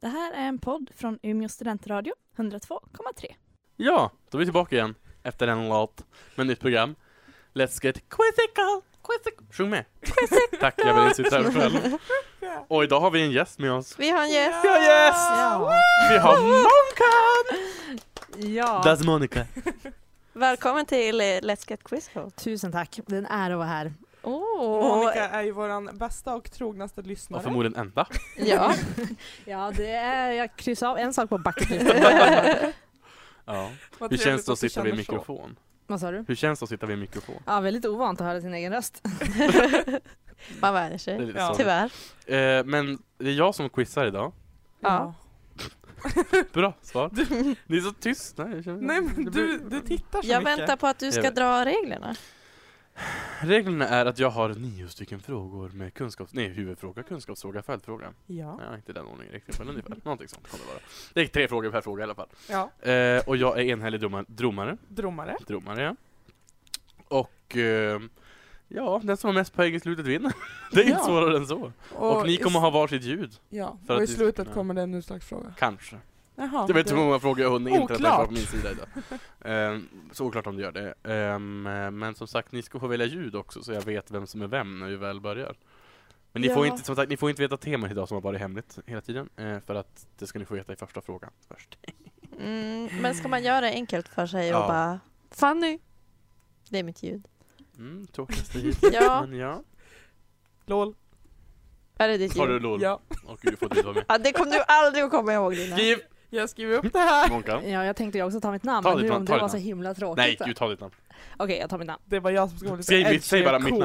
Det här är en podd från Umeå studentradio, 102,3. Ja, då är vi tillbaka igen efter en låt med nytt program. Let's get quizzical! quizzical. Sjung med! Tack, jag vill inte sitta här själv. Och idag har vi en gäst med oss. Vi har en gäst. Vi har gäst! Ja. Vi har Monkan! Ja, That's Monica. Välkommen till eh, Let's Get Quiz Show. tusen tack. Det är en ära att vara här. Oh, Monica är ju våran bästa och trognaste lyssnare. Och förmodligen enda. ja. Ja, det är, jag kryssar av en sak på backen. backsplan. Ja. Vad Hur känns trevligt det att du sitta vid en känner så. mikrofon? Vad sa du? Hur känns det att sitta vid en mikrofon? Ja, väldigt ovant att höra sin egen röst. Man vänjer sig. Det är lite Ja. sorgligt. Tyvärr. Eh, men det är jag som quizar idag. Ja. Bra svar. Ni är så tysta. Jag känner- Nej men det du, blir- du tittar så Jag mycket. väntar på att du ska Jag vet. dra reglerna. Reglerna är att jag har nio stycken frågor med kunskaps... Nej, huvudfråga, kunskapsfråga, följdfråga. Ja. Nej, inte i den ordningen riktigt, men ungefär. Någonting sånt kan det vara. Det är tre frågor per fråga i alla fall. ja, Eh, och jag är enhällig domare. Dromare. dromare. Dromare, ja. Och eh, ja, den som har mest poäng i slutet vinner. Det är inte Ja. svårare än så. Och, ni i kommer s- ha varsitt ljud. Ja, för och i att vi- slutet ja. kommer det en utslagsfråga. Kanske. Jaha. Jag vet inte hur många frågor jag hunnit intrata Oklart. från min sida idag. Ehm, så oklart om det gör det. Ehm, men som sagt, ni ska få välja ljud också så jag vet vem som är vem när vi väl börjar. Men ni, får Ja. inte, som sagt, ni får inte veta temat idag som har varit hemligt hela tiden, eh, för att det ska ni få veta i första frågan först. Mm, men ska man göra det enkelt för sig och Ja. bara Fanny! Det är mitt ljud. Mm, tråkigaste hittills, Ja, men ja. LOL. är det ditt Har du ljud? LOL? Ja. Och du får du vara med. Ja, det kommer du aldrig att komma ihåg Lina. Skriv! Jag skriver upp det här. Monkan. Ja, jag tänkte jag också ta mitt namn, Ta men ditt nu namn, om ta det ditt var så namn. himla Nej, tråkigt. gud ta ditt namn. Okej, jag tar mitt namn. Det var jag som ska vara lite Säg mitt- säg edgy och bara mitt cool.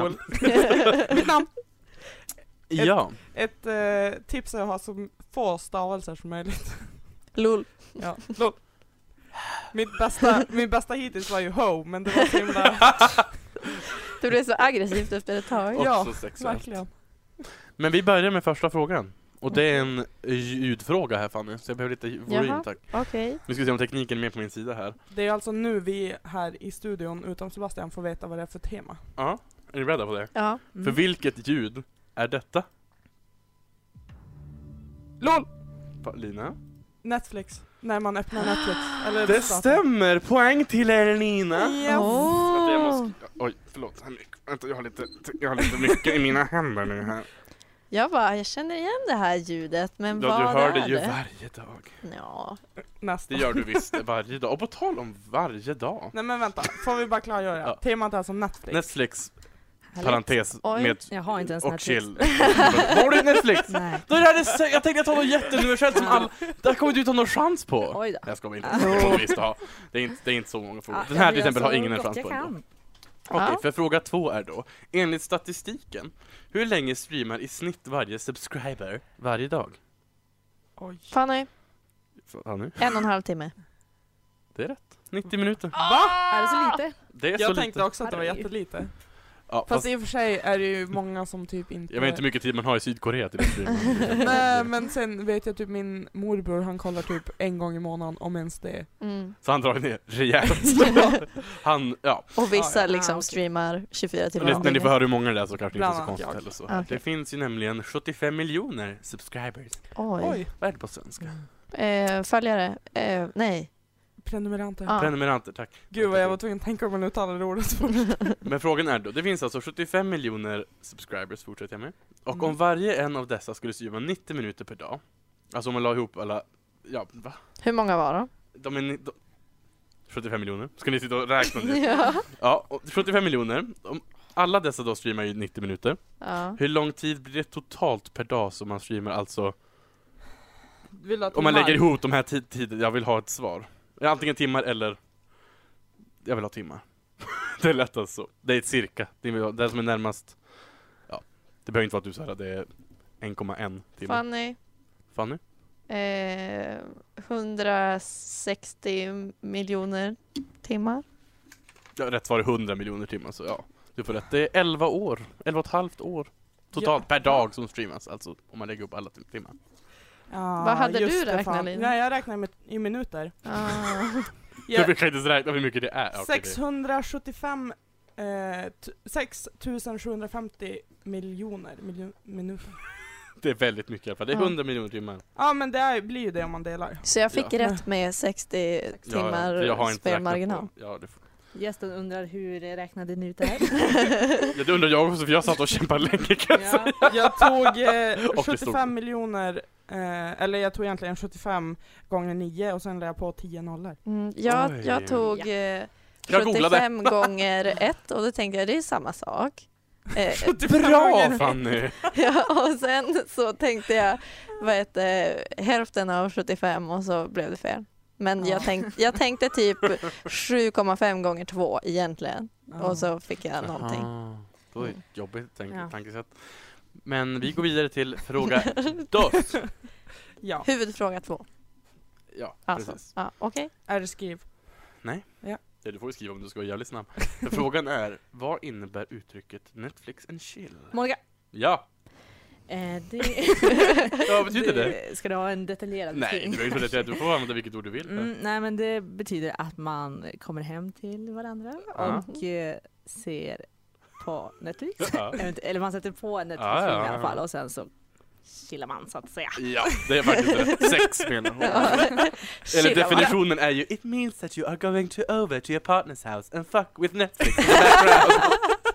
namn. mitt namn. Ja. Ett eh, tips är att ha så få stavelser som möjligt. Lol. Ja, LOL. Mitt bästa, min bästa hittills var ju ho, men det var så himla... Du blev så aggressivt efter ett tag. Och- Ja, Också sexuellt. Verkligen. Men vi börjar med första frågan. Och det är en ljudfråga här Fanny, så jag behöver lite volym Jaha. tack. Okej. Nu ska vi se om tekniken är med på min sida här. Det är alltså nu vi här i studion, utom Sebastian, får veta vad det är för tema. Ja, är ni beredda på det? Ja. Mm. För vilket ljud är detta? LOL! Pa- Lina? Netflix. När man öppnar Netflix. Eller Det datorn. stämmer! Poäng till er Lina! Vänta, Yes. jag Åh. måste... Oj, förlåt. Här mycket. Vänta, jag har lite, jag har lite mycket i mina händer nu här. Jag bara, jag känner igen det här ljudet, men Ja, vad du hör är det ju det? varje dag. Ja. Nästa. Det gör du visst, varje dag. Och på tal om varje dag. Nej men vänta, får vi bara klargöra? Ja. Temat är alltså Netflix. Netflix, Härligt. parentes, Oj. med Jag har inte ens och Netflix. chill. Har du Netflix? Nej. Då är det här det sä- jag tänkte jag tar något jätteuniversellt som alla... Det här kommer du inte ha någon chans på! Oj då. Jag ska väl inte, det kommer du visst ha. Det är inte, det är inte så många frågor. Den här till exempel har ingen en chans på ändå. Okej, Ja. för fråga två är då, enligt statistiken, hur länge streamar i snitt varje subscriber varje dag? Oj. Fanny, Ja, nu. en och en halv timme. Det är rätt. 90 minuter. Är det Ah! så lite? Det är så Jag tänkte lite. också att det var Harry. jättelite. Ja, Fast fast i och för sig är det ju många som typ inte... jag vet inte hur mycket tid man har i Sydkorea till att streama. Nej men sen vet jag typ min morbror, han kollar typ en gång i månaden, om ens det. Mm. Så han drar ner rejält. Han, ja. Och vissa Ja, ja. liksom Ah, okej. streamar 24 timmar När om när ni får dygnet. höra hur många det är så kanske det inte är så Bland konstigt annat heller så. Okej. Det finns ju nämligen 75 miljoner subscribers. Oj. Oj, Vad är det på svenska? Eh, följare? Eh, nej. prenumeranter. Ja. Prenumeranter, tack. Gud vad jag var tvungen att tänka om man uttalade ordet först. Men frågan är då, det finns alltså 75 miljoner subscribers, fortsätter jag med. Och om Mm. varje en av dessa skulle streama 90 minuter per dag, alltså om man la ihop alla, ja, va? Hur många var de? De är ni, de, 75 miljoner, ska ni sitta och räkna nu? ja. Ja, och 75 miljoner. Om alla dessa då streamar ju 90 minuter. ja. Hur lång tid blir det totalt per dag som man streamar alltså? Vill du att Om man timmar? lägger ihop de här ti- tiderna, jag vill ha ett svar. Ja, Antingen timmar eller, jag vill ha timmar. det är lättast så. Det är ett cirka, det är det som är närmast, ja, det behöver inte vara att du säger att det är 1,1 timmar. Fanny? Fanny? Eh, 160 miljoner timmar. Ja, rätt svar är 100 miljoner timmar, så ja. Du får rätt. Det är 11 år, 11 och ett halvt år. Totalt per dag som streamas, alltså om man lägger upp alla tim- timmar. Ja, Vad hade just du det, räknat, fan. Lina? Nej jag räknar med, i minuter. Ah. Jag- Jag kan inte ens räkna hur mycket det är. Ja, okej, det- 675 eh, t- 6 750 miljoner miljo- minuter. Det är väldigt mycket i alla fall. Det är Ja. 100 miljoner timmar. Ja men det är, blir ju det om man delar. Så jag fick Ja. rätt med 60 timmar jag, jag har inte spelmarginal. räknat på- Ja, det får, Gästen undrar hur räknade ni ut det här? ja, det undrar jag också för jag satt och kämpade länge kan jag säga. ja. Jag tog eh, Och det stod- 75 miljoner, eh, eller jag tog egentligen 75 gånger 9 och sen lade jag på 10 nollor. Mm, jag, Oj. jag tog eh, Jag googlade. 75 gånger 1 och då tänkte jag det är samma sak. Eh, 75 Bra gånger. Fanny! ja, och sen så tänkte jag vad heter, det, hälften av 75 och så blev det fel. Men jag, tänkt, jag tänkte typ 7,5 gånger 2 egentligen och så fick jag någonting. Aha. Ah, Det var ju ett jobbigt tänk- Mm. Ja. tankesätt. Men vi går vidare till fråga DÖS. Ja, Huvudfråga 2. Ja, Alltså. precis. Ja, Okej. är det skriv? Ja, du får ju skriva om du ska vara jävligt snabb. Men Frågan är, vad innebär uttrycket Netflix and chill? Monica! Ja! Eh, det... Ja, typ- vad betyder Ska du ha en detaljerad Nej, du beskrivning? behöver inte berätta. Du får använda vilket ord du vill. Mm, nej men det betyder att man kommer hem till varandra Ja. och eh, ser på Netflix. Ja. Eventu- Eller man sätter på en Ja, Netflix-film i ja, ja. alla fall och sen så chillar man så att säga. Ja, det är faktiskt rätt. Sex menar hon. Eller definitionen är ju It means that you are going to over to your partner's house and fuck with Netflix in the background.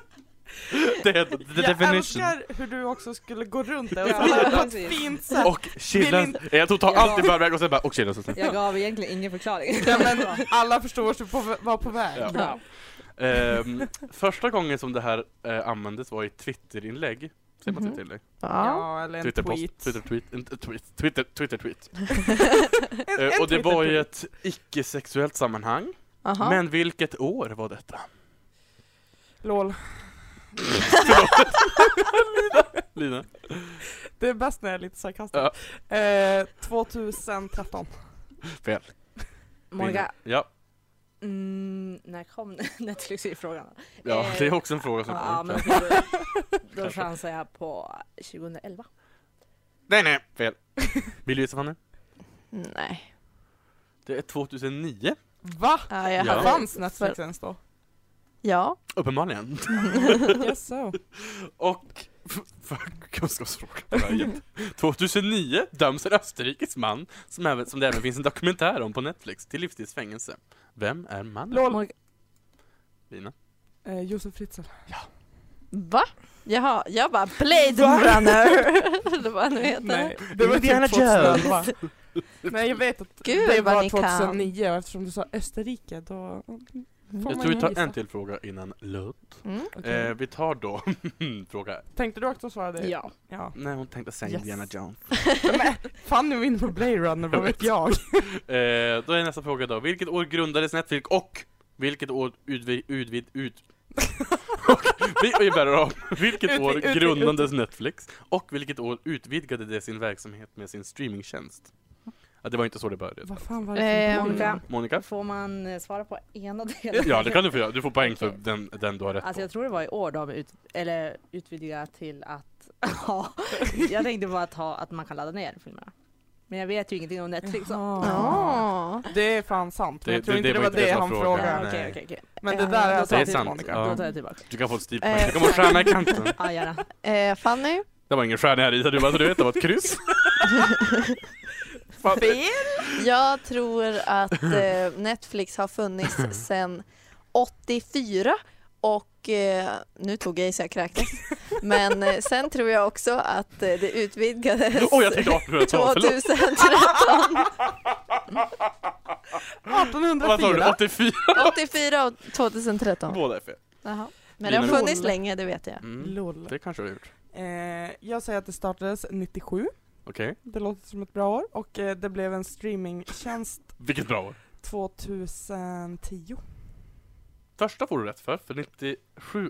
Det är the jag definition. älskar hur du också skulle gå runt det och Ja, säga det på ett precis. fint sätt. Och chilla. Vill Jag tog tag allt i förväg och sen bara och chilla. så- Jag gav egentligen ingen förklaring. Ja, men alla förstår sig på var på väg. Ja. Ja. Ehm, första gången som det här eh, användes var i ett Twitterinlägg. Säger man Mhm. Twitterinlägg? Ja. Ja, eller en Twitterpost, tweet. Twitter-tweet, en tweet, Twitter, Twitter-tweet. En, Eh, en och det var i Twitter-tweet. ett icke-sexuellt sammanhang. Aha. Men vilket år var detta? LOL. Lina? Det är bäst när jag är lite sarkastisk. Eh, 2013. Fel. Monica, Ja, mm, när kom Netflix-frågan? ja det är också en fråga som Ja, kommer. men då, då chansar jag på 2011. Nej, nej, fel. Vill du gissa Fanny? Nej. Det är 2009. Va? Ja, jag Ja. hade... Fanns Netflix ens då? Ja. Uppenbarligen. Yes, so. Och, för kunskapsfråga på vägen. 2009 döms en österrikisk man, som, även, som det även finns en dokumentär om på Netflix, till livstids fängelse. Vem är mannen? LOL. Lina? Eh, Josef Fritzl. Va? Jaha, jag bara Blade Runner! det var nu heter Nej, det. det var Indiana typ 2011. Nej jag vet att Gud, det vad var ni kan. 2009 och eftersom du sa Österrike då... Får Jag man tror vi ju tar gissa. en till fråga innan Lut. Mm. Okej. Eh, vi tar då fråga... Tänkte du också svara det? Ja. ja. Nej, hon tänkte säga Yes. Indiana Jones. Men, fan nu är vi inne på Blade Runner, Jag vad vet. vet jag? Eh, då är nästa fråga då. Vilket år grundades Netflix och vilket år utvid... utvid ut... och, vi, vi börjar om. Vilket Utvid- år utvid- grundades Netflix och vilket år utvidgade det sin verksamhet med sin streamingtjänst? Ja, det var inte så det började. Vad fan var det Ehm, för Monica, Monica? får man eh, svara på ena delen? Ja, det kan du få göra. Du får poäng för den, den du har rätt Alltså på. jag tror det var i år de ut, eller utvidgade till att ha. Jag tänkte bara att, ha, att man kan ladda ner filmerna. Men jag vet ju ingenting om Netflix. så- Ja. Det är fan sant, men Det- jag tror det- inte det det, var var inte det det som han var frågade. frågan. Ja, nej. okej, okej, okej. Men Eh, det där då är alltså Det är sant sant. Monica. Då Ja. tar jag tillbaka. Du kan få ett stil Eh, Du kan få en stjärna i kanten. Ja, gärna. Eh, Fanny? Det var ingen stjärna här i, så du bara, så du vet, det var ett kryss. Jag tror att eh, Netflix har funnits sedan 84 och eh, nu tog jag i så jag kräktes. Men eh, sen tror jag också att eh, det utvidgades Oj, jag tänkte 1800-tal, typ förlåt. 2013, 1804! Vad sa du? 84? 84 och 2013. Båda är fel. Jaha. Men det har Lina, funnits Lola. länge, det vet jag. Mm. LOL. Det kanske du har gjort. Eh, jag säger att det startades 97, Okej. det låter som ett bra år, och eh, det blev en streamingtjänst Vilket bra år. 2010. Första får du rätt för, för 97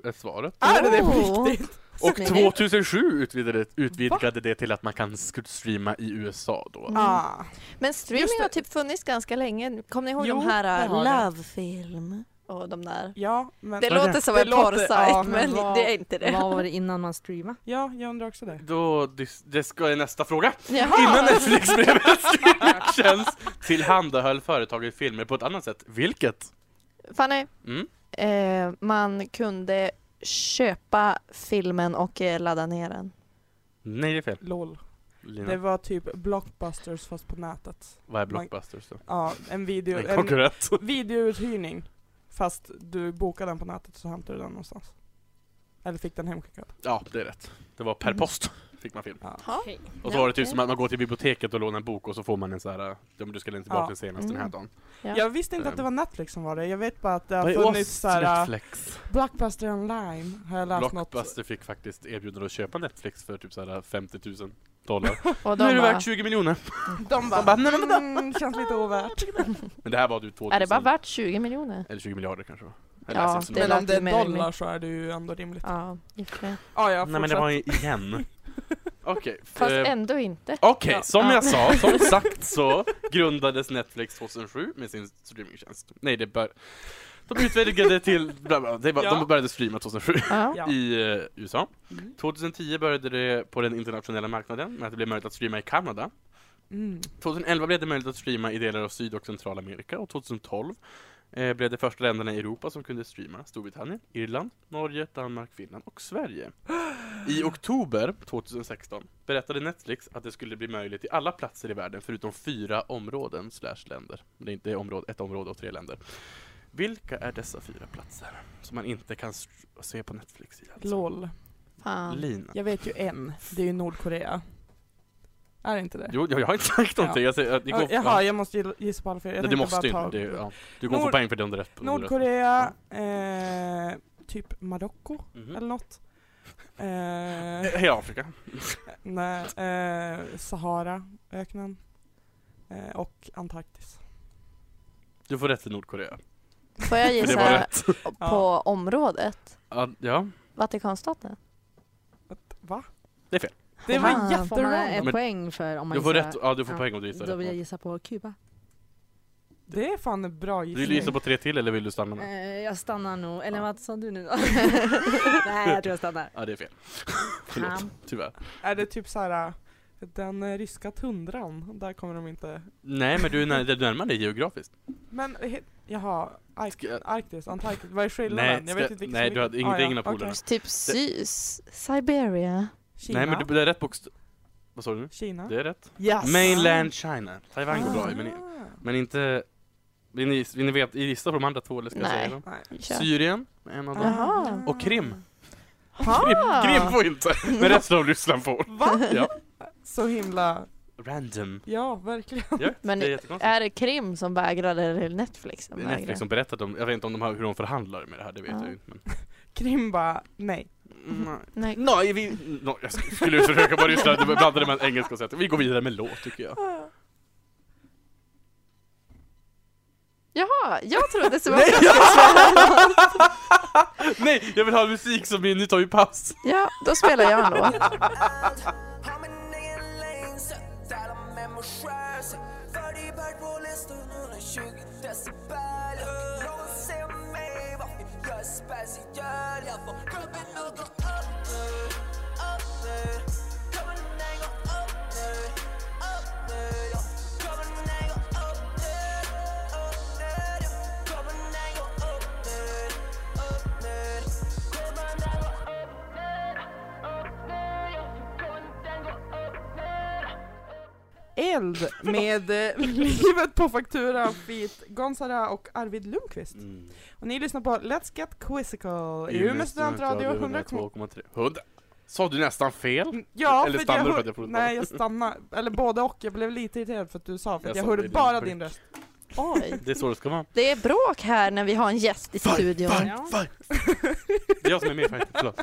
är svaret. Är det det Oh. på riktigt? Och Snyggt. 2007 utvidgade, utvidgade det till att man kan sk- streama i USA då. Mm. Ah. Men Just streaming det. har typ funnits ganska länge. Kommer ni ihåg Jo, de här det har eh, det. Love-film och de där? Ja, men... Det Ja, låter det- som det en låter- porrsajt ja, men, men vad- det är inte det. Vad var det innan man streamade? Ja, jag undrar också det. Då, dys- det ska är nästa fråga. Ah! Jaha. Innan Netflix blev en streamingtjänst tillhandahöll företaget filmer på ett annat sätt. Vilket? Fanny, Mm. eh, man kunde köpa filmen och eh, ladda ner den. Nej, det är fel. LOL. Lina, Det var typ blockbusters fast på nätet. vad är Blockbusters då? Ja, en video... En konkurrent. videouthyrning. Fast du bokade den på nätet så hämtade du den någonstans. Eller fick den hemskickad. Ja, det är rätt. Det var per Mm. post fick man film. Ja. Okej. Och så var det typ som att man går till biblioteket och lånar en bok och så får man en så här, "Ja, men du ska lämna tillbaka Ja. den senast den här Mm. dagen. Ja. Jag visste inte att det var Netflix som var det. Jag vet bara att det har Ehm. Vad är funnits oss såhär... Netflix? Blockbuster online har jag läst något. Blockbuster fick faktiskt erbjudande att köpa Netflix för typ så här 50 000 dollar. Och nu är de det bara, värt 20 miljoner. De bara, bara, nej, men vadå? mm, känns lite ovärt. Men det här var typ 2000. är det bara värt 20 miljoner? Eller 20 miljarder kanske. Ja, det Men lät om det ju mer är eller dollar så är det ju ändå rimligt. Ja, Ja, i och för sig. ja, Nej men det var ju igen. Okej. Fast eh, ändå inte. Okej, Ja. som Ja. jag sa, som sagt så grundades Netflix 2007 med sin streamingtjänst. Nej, det bör... De utvidgade till... Bla bla, det var, Ja. De började streama 2007 Ja. Ja. i eh, USA. Mm. 2010 började det på den internationella marknaden med att det blev möjligt att streama i Kanada. Mm. 2011 blev det möjligt att streama i delar av Syd och Centralamerika och 2012 eh, blev det första länderna i Europa som kunde streama Storbritannien, Irland, Norge, Danmark, Finland och Sverige. I oktober 2016 berättade Netflix att det skulle bli möjligt i alla platser i världen förutom fyra områden slash länder. Det är inte det är område, ett område och tre länder. Vilka är dessa fyra platser som man inte kan st- se på Netflix? i Alltså? LOL. Fan. Lina. Jag vet ju en. Det är ju Nordkorea. Är det inte det? Jo, jag, jag har inte sagt någonting. Jag säger, att det går, Ja, Jaha, jag måste gill- gissa på alla fyra. Jag Nej, du tänkte måste ju bara inte. ta- Det är- Ja, du kommer få Nord- poäng för det om du är rätt. om du är rätt. Nordkorea, eh, typ Marocko Mhm. eller något. Eh, Eh, Hela Afrika. nej, eh, Saharaöknen. Eh, och Antarktis. Du får rätt för Nordkorea. Får jag För det var gissa rätt. på området? Ja, Ja, Vatikanstaten? Va? Det är fel. Det Fan. var Får man jätterandom. en Men- poäng för om man du får, gissar- rätt, ja, du får ja. poäng om du gissar Då rätt. vill jag något. gissa på Kuba. Det är fan en bra gissning. Vill du gissa på tre till eller vill du stanna med? Eh, jag stannar nog. Eller Ja. vad sa du nu då? Nej, jag tror jag stannar. Ja, det är fel. Fan. Förlåt, tyvärr. Är det typ så här eh, den eh, ryska tundran? Där kommer de inte... Nej, men du är när- du närmar dig geografiskt. Men he, jaha, Ark, Ska jag- Arktis, Antarktis, vad är skillnaden? Nej, jag ska- vet inte nej, du hade ingen- det är ingen av Ah, okej. polerna. Typ Sys? Siberia? Kina. Nej, men du, det är rätt bokstav... Vad sa du nu? Kina. Det är rätt. Yes. Mainland China. Taiwan går bra i, men, Ah. men inte... Vill ni, vill ni veta, gissa på de andra två eller ska jag Nej. säga dem? Nej. Kör. Syrien, en av dem. Jaha. Ah. Och Krim. Ha! Krim, Krim får inte, men resten av Ryssland får. Va? Ja. Så himla, Random. ja verkligen. Ja, Men det är jättekonstigt. Är det Krim som vägrade eller Netflix som Det är Netflix vägrade? som berättat om, jag vet inte om de har, hur de förhandlar med det här, det vet Ja. jag ju inte. Men... Krim bara, nej. Nej. Nej. Nej, vi... No, jag skulle försöka bara lyssna, du blandade med engelska och sätta. Vi går vidare med låt tycker jag. Jaha, jag trodde så var Nej! jag skulle svara. Nej, jag vill ha musik som vi, nu tar vi paus. Ja, då spelar jag en låt. Eld med eh, Livet på faktura, Fit Gonzara och Arvid Lundqvist. Mm. Och ni lyssnar på Let's Get Quizzical i Umeå studentradio 100,3. 102,3. 100. Sa du nästan fel? Ja, Eller för stannar du jag för att hör- jag får- Nej, jag stannar. Eller både och. Jag blev lite irriterad för att du sa, för Jag att sa jag det, hörde det är bara lugnt. din röst. Oj. Det är så det ska vara. Det är bråk här när vi har en gäst i studion. Ja. fight. Det är jag som är med faktiskt, förlåt.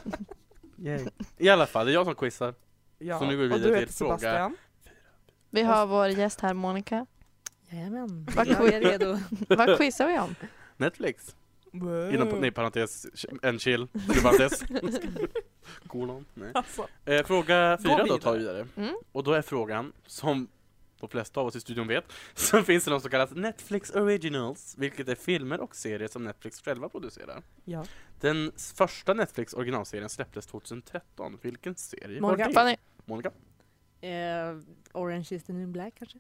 I alla fall, det är jag som quizar. Ja. Så nu går vi och vidare du till heter fråga. Sebastian. Vi har vår gäst här, Monica. Jajamän. Vad Jag är redo. Vad quizar vi om? Netflix. Inom, Mm. nej, parentes, en chill, parentes. Kolon. Nej. Alltså, Eh, fråga Gå fyra då vidare. tar vi vidare. Mm. Och då är frågan, som de flesta av oss i studion vet, så finns det något som kallas Netflix Originals, vilket är filmer och serier som Netflix själva producerar. ja. Den s- första Netflix originalserien släpptes 2013. Vilken serie Monica. var det? Fanny, Monica. Eh, Orange is the new black kanske?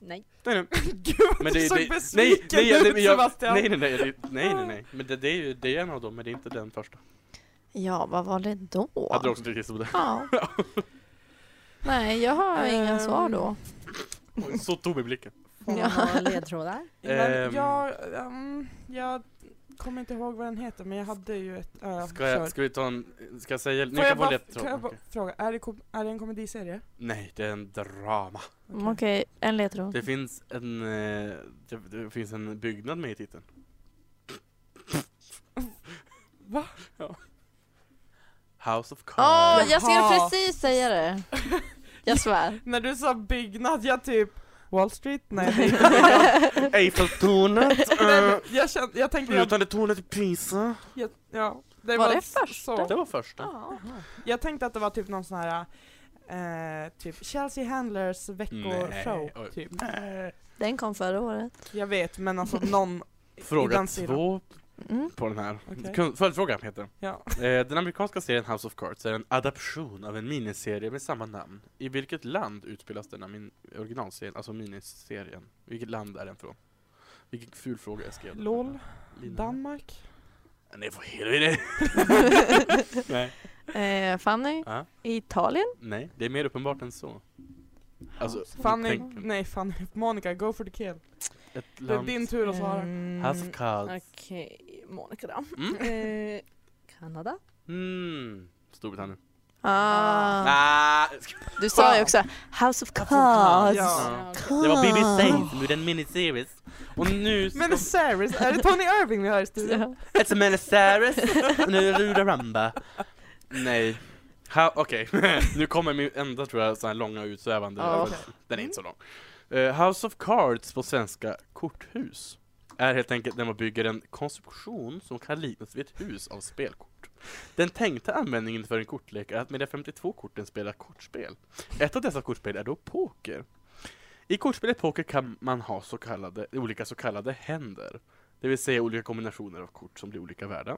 Nej. Nej, nej. Gud Men vad det, du såg det, nej, besviken nej, nej, ut men jag, Sebastian! Ah. nej, nej, nej, det- nej, nej, nej, men det, det är ju det är en av dem, men det är inte den första. ja, vad var det då? Hade du också tyckt så på det? Ja. Nej, jag har inga Ehm, svar då. Oj, Så tom i blicken. Får man några ledtrådar? Ehm. Men jag, ehm, jag kommer inte ihåg vad den heter, men jag hade ju ett... Uh, Ska, jag, ska vi ta en... Ska jag säga... Ni Får kan jag få en bara, ledtråd. kan jag bara Okej. fråga, är det, kom, är det en komediserie? Nej, det är en drama. Okej. Mm, Okej, en ledtråd. Det finns en... eh, Det, det finns en byggnad med i titeln. Va? Ja. House of Åh, Cards. jag skulle Jaha. precis säga det. Jag svär. När du sa byggnad, jag typ... Wall Street? Nej, det är inte byggnad. Eiffeltornet! Nej, men eh, jag, kände, jag tänkte... Jag, Flytande tornet i Pisa. jag, ja, det Var var, det s- så. Det var första. Jag tänkte att det var typ någon sån här eh, typ Chelsea Handlers veckoshow. Nej, oj. Typ. Den kom förra året. Jag vet, men alltså någon... i Fråga den sidan. två Mm. på den här. Okej. Kun- Följdfråga heter den. Ja. Eh, Den amerikanska serien House of Cards är en adaption av en miniserie med samma namn. I vilket land utspelas denna min originalserien, alltså miniserien? Vilket land är den från? Vilken ful fråga jag skrev. LOL, Lina. Danmark. Nej för helvete! Nej. Eh, Fanny, Ja. Italien? Nej, det är mer uppenbart än så. Alltså, Fanny, tänk- nej Fanny, Monica, go for the kill. ett Det är land... din tur att svara. House of Cards. Okej, Monica då. Mm. Eh, Kanada? Mm. Storbritannien. Ah. Ah. Du sa ju också House of Cards. Ja. Det var BBC som gjorde en miniseries. Och nu ska... Ah. Men Cyrus, är det Tony Irving vi har i studion? Ja. It's a miniseries! Och nu är det Ruda Ramba. Nej. Ha- Okej, nu kommer min enda tror jag sån här långa utsvävande. Ja, okej. Mm. Den är inte så lång. Eh, House of Cards på svenska korthus är helt enkelt när man bygger en konstruktion som kan liknas vid ett hus av spelkort. Den tänkta användningen för en kortlek är att med de 52 korten spela kortspel. Ett av dessa kortspel är då poker. I kortspelet poker kan man ha så kallade, olika så kallade händer. Det vill säga olika kombinationer av kort som blir olika värda.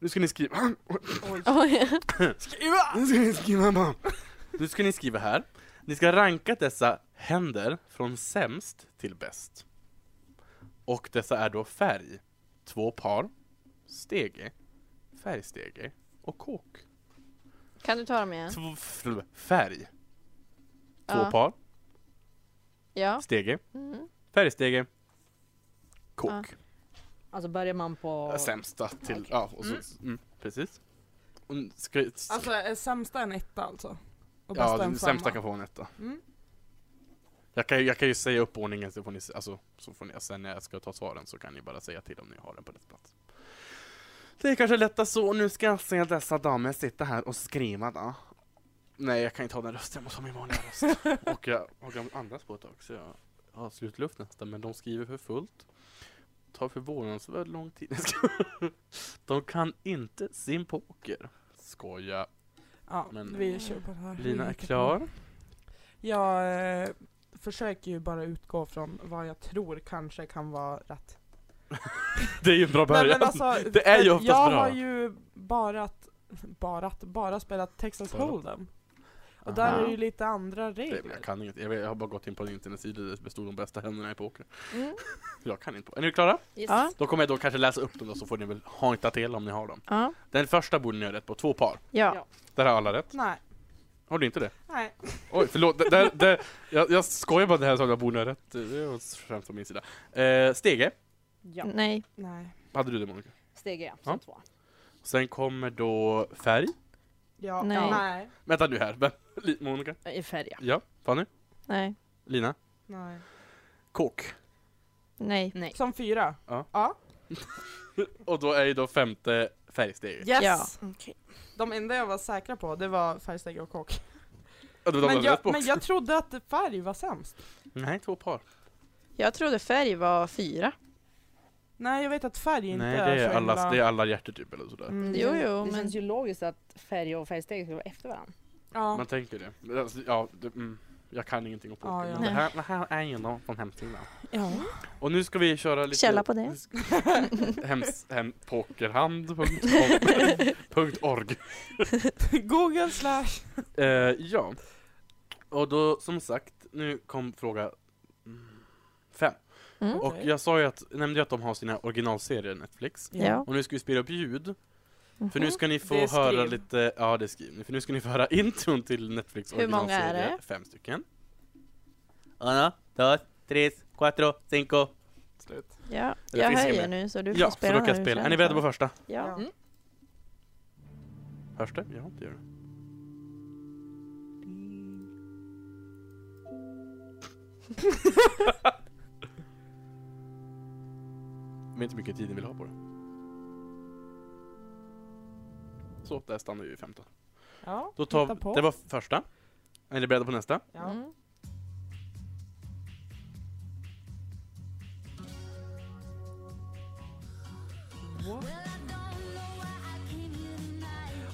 Nu ska ni skriva... Oj. Skriva! Nu ska ni skriva mamma. Nu ska ni skriva här. Ni ska ranka dessa händer från sämst till bäst. Och dessa är då färg. Två par. Stege. Färgstege. Och kåk. Kan du ta dem igen? Två, förlåt, färg. Två Ja. par. Ja. Stege. Mm. Färgstege. Kåk. Ja. Alltså börjar man på... Sämsta till, Okej. ja, och så, mm. Mm. precis. Och ska, Alltså är sämsta en etta alltså? Och bästa ja, den en sämsta femma? kan få en etta. Mm. Jag kan, ju- jag kan ju säga upp ordningen så får ni, se- alltså, så får ni, sen när jag ska ta svaren så kan ni bara säga till om ni har den på rätt plats. Det är kanske lättast så, nu ska jag se dessa damer sitta här och skriva då. Nej, jag kan inte ha den rösten, jag måste ha min vanliga röst. och jag och jag andas på ett tag så jag har slutluft nästan, men de skriver för fullt. Tar förvånansvärt lång tid. de kan inte sin poker. Skoja. Ja, Men- vi kör på det här. Lina är klar. Jag eh, försöker ju bara utgå från vad jag tror kanske kan vara rätt. Det är ju en bra Nej, början. men alltså, Det är ju för oftast jag bra. har ju bara, att- bara, att- bara spelat Texas Bara. Hold'em. Och Aha. där är ju lite andra Nej, men regler. jag kan inget. Jag, vet, jag har bara gått in på en internetsida där det bestod de bästa händerna i poker. Mm. Jag kan inte. po- Är ni klara? Yes. Ja. Då kommer jag då kanske läsa upp dem då, så får ni väl hojta till om ni har dem. Ja. Den första borde ni ha rätt på, två par. Ja. Där har alla rätt. Nej, Har du inte det? nej. Oj, förlåt. Det, det, det, jag, jag skojar bara det här så att jag borde ha rätt. Det var ett skämt från min sida. Eh, stege, ja. Nej. Nej. hade du det Monica? Steg är Ja. absolut två. Sen kommer då färg. Ja. Nej. Nej. Nej. Vänta nu här. Vem? Li- Monica? I färg ja. Ja. Fanny? Nej. Lina? Nej. Kåk. Nej. Nej. Som fyra. Ja. ja. Och då är ju då femte färgsteget. Yes. Ja. De enda jag var säkra på det var färgsteg och kock. Ja, det var de Men hade rätt jag, på. men jag trodde att färg var sämst. Nej, två par. Jag trodde färg var fyra. Nej jag vet att färg inte Nej, det är, så alla, himla... det är alla hjärtor typ eller sådär. Mm. Jo, jo, det men- känns ju logiskt att färg och färgsteg ska vara efter varandra. Ja. Man tänker det. Men alltså, Ja, det mm, jag kan ingenting om poker, Ja, ja. men det Nej. här, det här är ju då från hemsidan. ja. Och nu ska vi köra lite... Källa på det. Hems, hem, pokerhand.com punkt .org. Google slash... Eh, ja. Och då, som sagt, nu kom fråga mm, fem. Mm. Och jag sa ju att, nämnde ju att de har sina originalserier Netflix. Ja. Och nu ska vi spela upp ljud För Mhm. nu ska ni få Det är höra skriv. lite, ja det är skriv. För nu ska ni få höra intron till Netflix Hur många är originalserie. det? Fem stycken. Una, dos, tres, cuatro, cinco. Slut. Ja, Det jag finns inget höjer mer. nu så du får Ja, så spela då kan när jag du spela. Är känner ni beredda för på första? det. Ja. Mm. Hörs det? Ja, det gör det. Jag vet inte hur mycket tid ni vill ha på det. Så, där stannar vi vid 15. Ja, Då tar, hitta på. det var första. Är ni beredda på nästa? ja. Mm.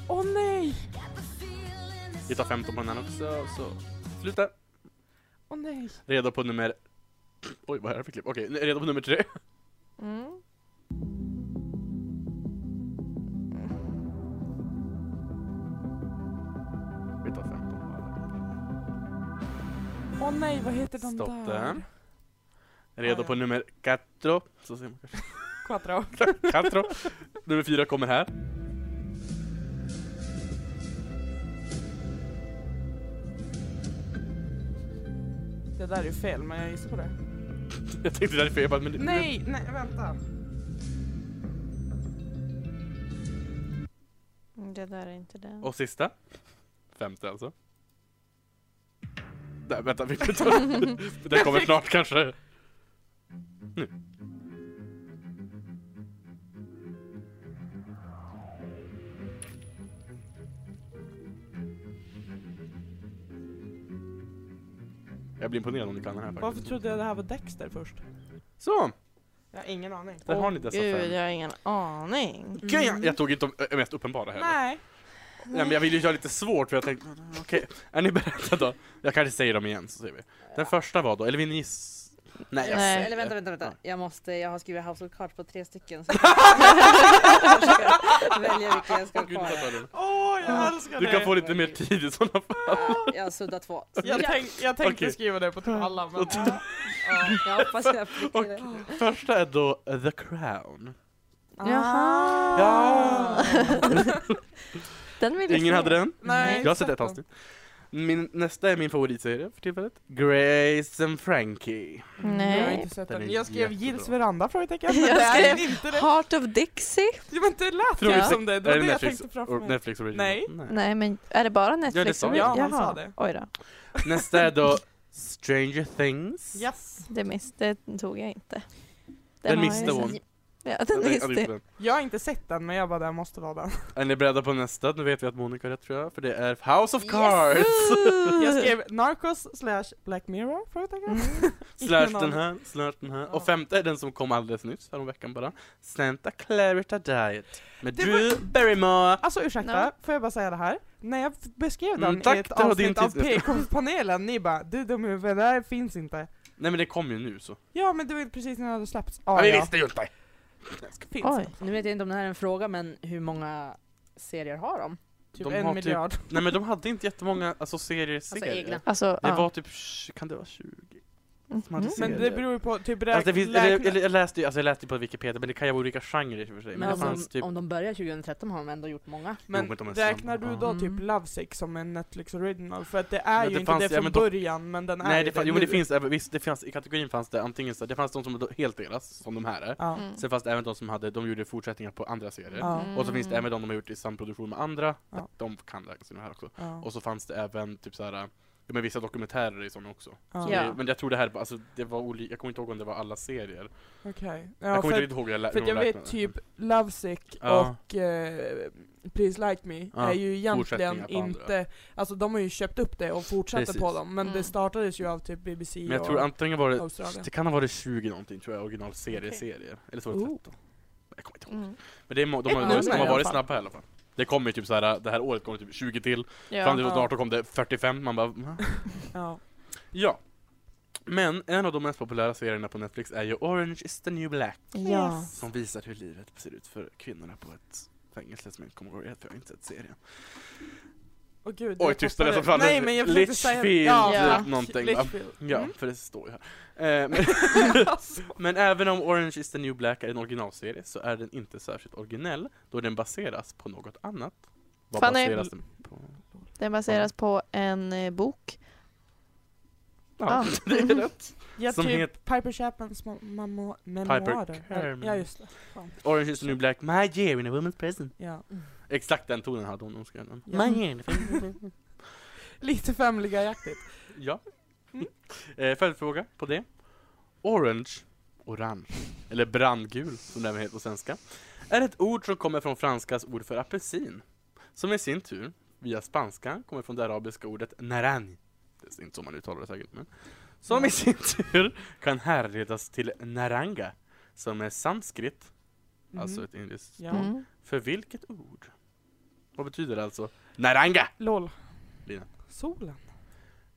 Åh nej! Vi tar 15 på den här också, så sluta. Åh nej! Redo på nummer... Oj, vad är det för klipp? Okej, redo på nummer tre. Mm. Vi tar 15 på alla. Åh nej, vad heter de Stopp där? den. Redo Ah, ja. på nummer quattro. Så ser man kanske. Quattro. Quattro. nummer fyra kommer här. Det där är ju fel, men jag gissar på det. Jag tänkte det där är fel, jag bara, men det, Nej, nej, vänta. Mm, Det där är inte det. Och sista. Femte alltså. Nej, vänta, vi tar... Den kommer snart kanske. Nu. Jag blir imponerad om ni kan den här Varför faktiskt. trodde jag det här var Dexter först? Så! Jag har ingen aning. Där har ni Åh, dessa Gud, fem. jag har ingen aning. Gud, jag, jag tog inte de ö, mest uppenbara heller. Nej. Nej, men jag ville ju göra lite svårt för jag tänkte, okej, är ni beredda då? Jag kanske säger dem igen så ser vi. Den första var då, eller vill ni giss... Nej, jag Nej. säger- Eller vänta, vänta, vänta. Ja. Jag måste, jag har skrivit household cards på tre stycken. Så jag ska välja vilken jag ska ha Gud, vad kvar. tar du? Åh, jag älskar Du det! kan få lite mer tid i sådana fall. Jag har suddat två. Så Jag, jag, tänk, jag tänkte Okej. skriva det på typ alla, men... Ja. ja, jag hoppas jag prickar Och rätt. första är då eh, The Crown. Jaha. Ja. Den vill jag Ingen se. hade den? Nej, Jag har sett exakt. ett avsnitt. Min, nästa är min favoritserie för tillfället. Grace and Frankie. Jag har Nej. inte sett Den är den. Jag skrev jättebra. Gills veranda? Frågetecken. Men Jag det är skrev- inte det. Heart of Dixie? Ja, men det lät Tror ju vi- som det. Det är var det det jag Netflix tänkte framför Or- mig. Netflix original? Nej. Nej men är det bara Netflix? sa jag. Ja, han Jaha. sa det. Oj då. Nästa är då Stranger Things. Yes. Det, miss, det tog jag inte. Den har jag missade ju sett. hon. Ja, den Jag tänkte- visste jag tänkte jag. den. Jag har inte sett den, men jag bara, det här måste vara den. Är ni beredda på nästa? Nu vet vi att Monica har rätt tror jag, för det är House of Cards! Jag skrev Narcos slash Black Mirror? Frågetecken. Ingen Slash den aning. här, slash den här. Ja. Och femte är den som kom alldeles nyss, veckan bara. Santa Clarita Diet. Med Det Drew Barrymore. Alltså ursäkta, No. får jag bara säga det här? När jag f- beskrev den Mm, tack, i ett det var din avsnitt av tid. PK-panelen, ni bara du dum huvud, det här finns inte. Nej men det kom ju nu så. Ja men det var ju precis när det hade släppts. Men Ah, vi ja. visste ju inte! Finns Oj. Nu vet jag inte om det här är en fråga, men hur många serier har de? typ De har en typ- miljard. Nej men de hade inte jättemånga, alltså serier, Alltså serier. egna. Alltså, Det ja. var typ, tj- kan det vara 20? Som hade Mhm. Men det serier. beror ju på, typ räkna... Alltså, det finns, räkna- eller, eller, jag läste ju alltså, jag läste ju på Wikipedia, men det kan ju vara olika genrer i och för sig. Men Men det Alltså, om fanns de, typ... om de börjar 2013 har de ändå gjort många. men Jo, men de är räknar samma. du då Mm. Ja. typ Love Sick som en Netflix original? För att det är Men ju det inte fanns- det ja, från men de- början, men den är Nej, ju det, fan, det jo, men det nu. finns, även- visst, det fanns, i kategorin fanns det antingen så, det fanns de som då helt delas, som de här är. Ja. Mm. Sen fanns det även de som hade, de gjorde fortsättningar på andra serier. Ja. Och så finns det Mm. även de de har gjort i samproduktion med andra, Ja. att de kan lägga sina här också. Ja. Och så fanns det även typ såhär, ja men vissa dokumentärer i sådana också. Ja. Ja. Eh, Men jag tror det här, var- alltså det var olika, jag kommer inte ihåg om det var alla serier. Okej. jag Ja, kommer för, inte riktigt ihåg hur jag lä- för hur att de jag vet räknade. typ Love Sick Ja. och eh, Please Like Me Ja, är ju egentligen fortsättningar på andra. inte, alltså de har ju köpt upp det och fortsätter Precis. på dem, men Mm. det startades ju av typ BBC Men jag och tror antingen var det, Australien. det kan ha varit 20 någonting tror jag, originalserie Okej. serier. Eller så var det Oh. 13. Jag kommer inte ihåg. Mm. Men det är, må- de, har, Ett de, nummer de har i alla varit fall. snabba i alla fall. Det kom ju typ såhär, det här året kom det typ 20 till, fram till Ja. 2018 kom det 45, man bara "Va?" Ja. Ja. Men en av de mest populära serierna på Netflix är ju Orange is the new black. ja. Som visar hur livet ser ut för kvinnorna på ett fängelse som jag inte kommer ihåg för jag har inte sett serien. Åh gud, Oj, jag tystare som tappade- fan. Nej, men jag försökte säga... Litchfield, typ Ja. tack. någonting, va? Litchfield. Alltså. Ja, Mm. för det står ju här. Eh, men, men även om Orange is the new black är en originalserie så är den inte särskilt originell då den baseras på något annat. Vad Fanny. baseras den på? Den baseras på en eh, bok. Ja, Ah. det är rätt. Ja, Som typ het- Piper Chapmans ma- mamma memoarer. Kerman. Ja, just det. Fan. Orange is the new black, my year in a woman's prison. Ja. Exakt den tonen hade hon när hon skrev den. Ja. My year in a woman's prison. Lite Family Guy-aktigt. Ja. Eh, följdfråga på det. Orange, orange, eller brandgul som det även heter på svenska, är ett ord som kommer från franskas ord för apelsin, som i sin tur, via spanskan, kommer från det arabiska ordet naranj. Det är inte så man uttalar det säkert, men som i sin tur kan härledas till naranga, som är sanskrit, Mhm. alltså ett indiskt Ja. Mm. För vilket ord? Vad betyder det alltså? Naranga! LOL. Lina. Solen.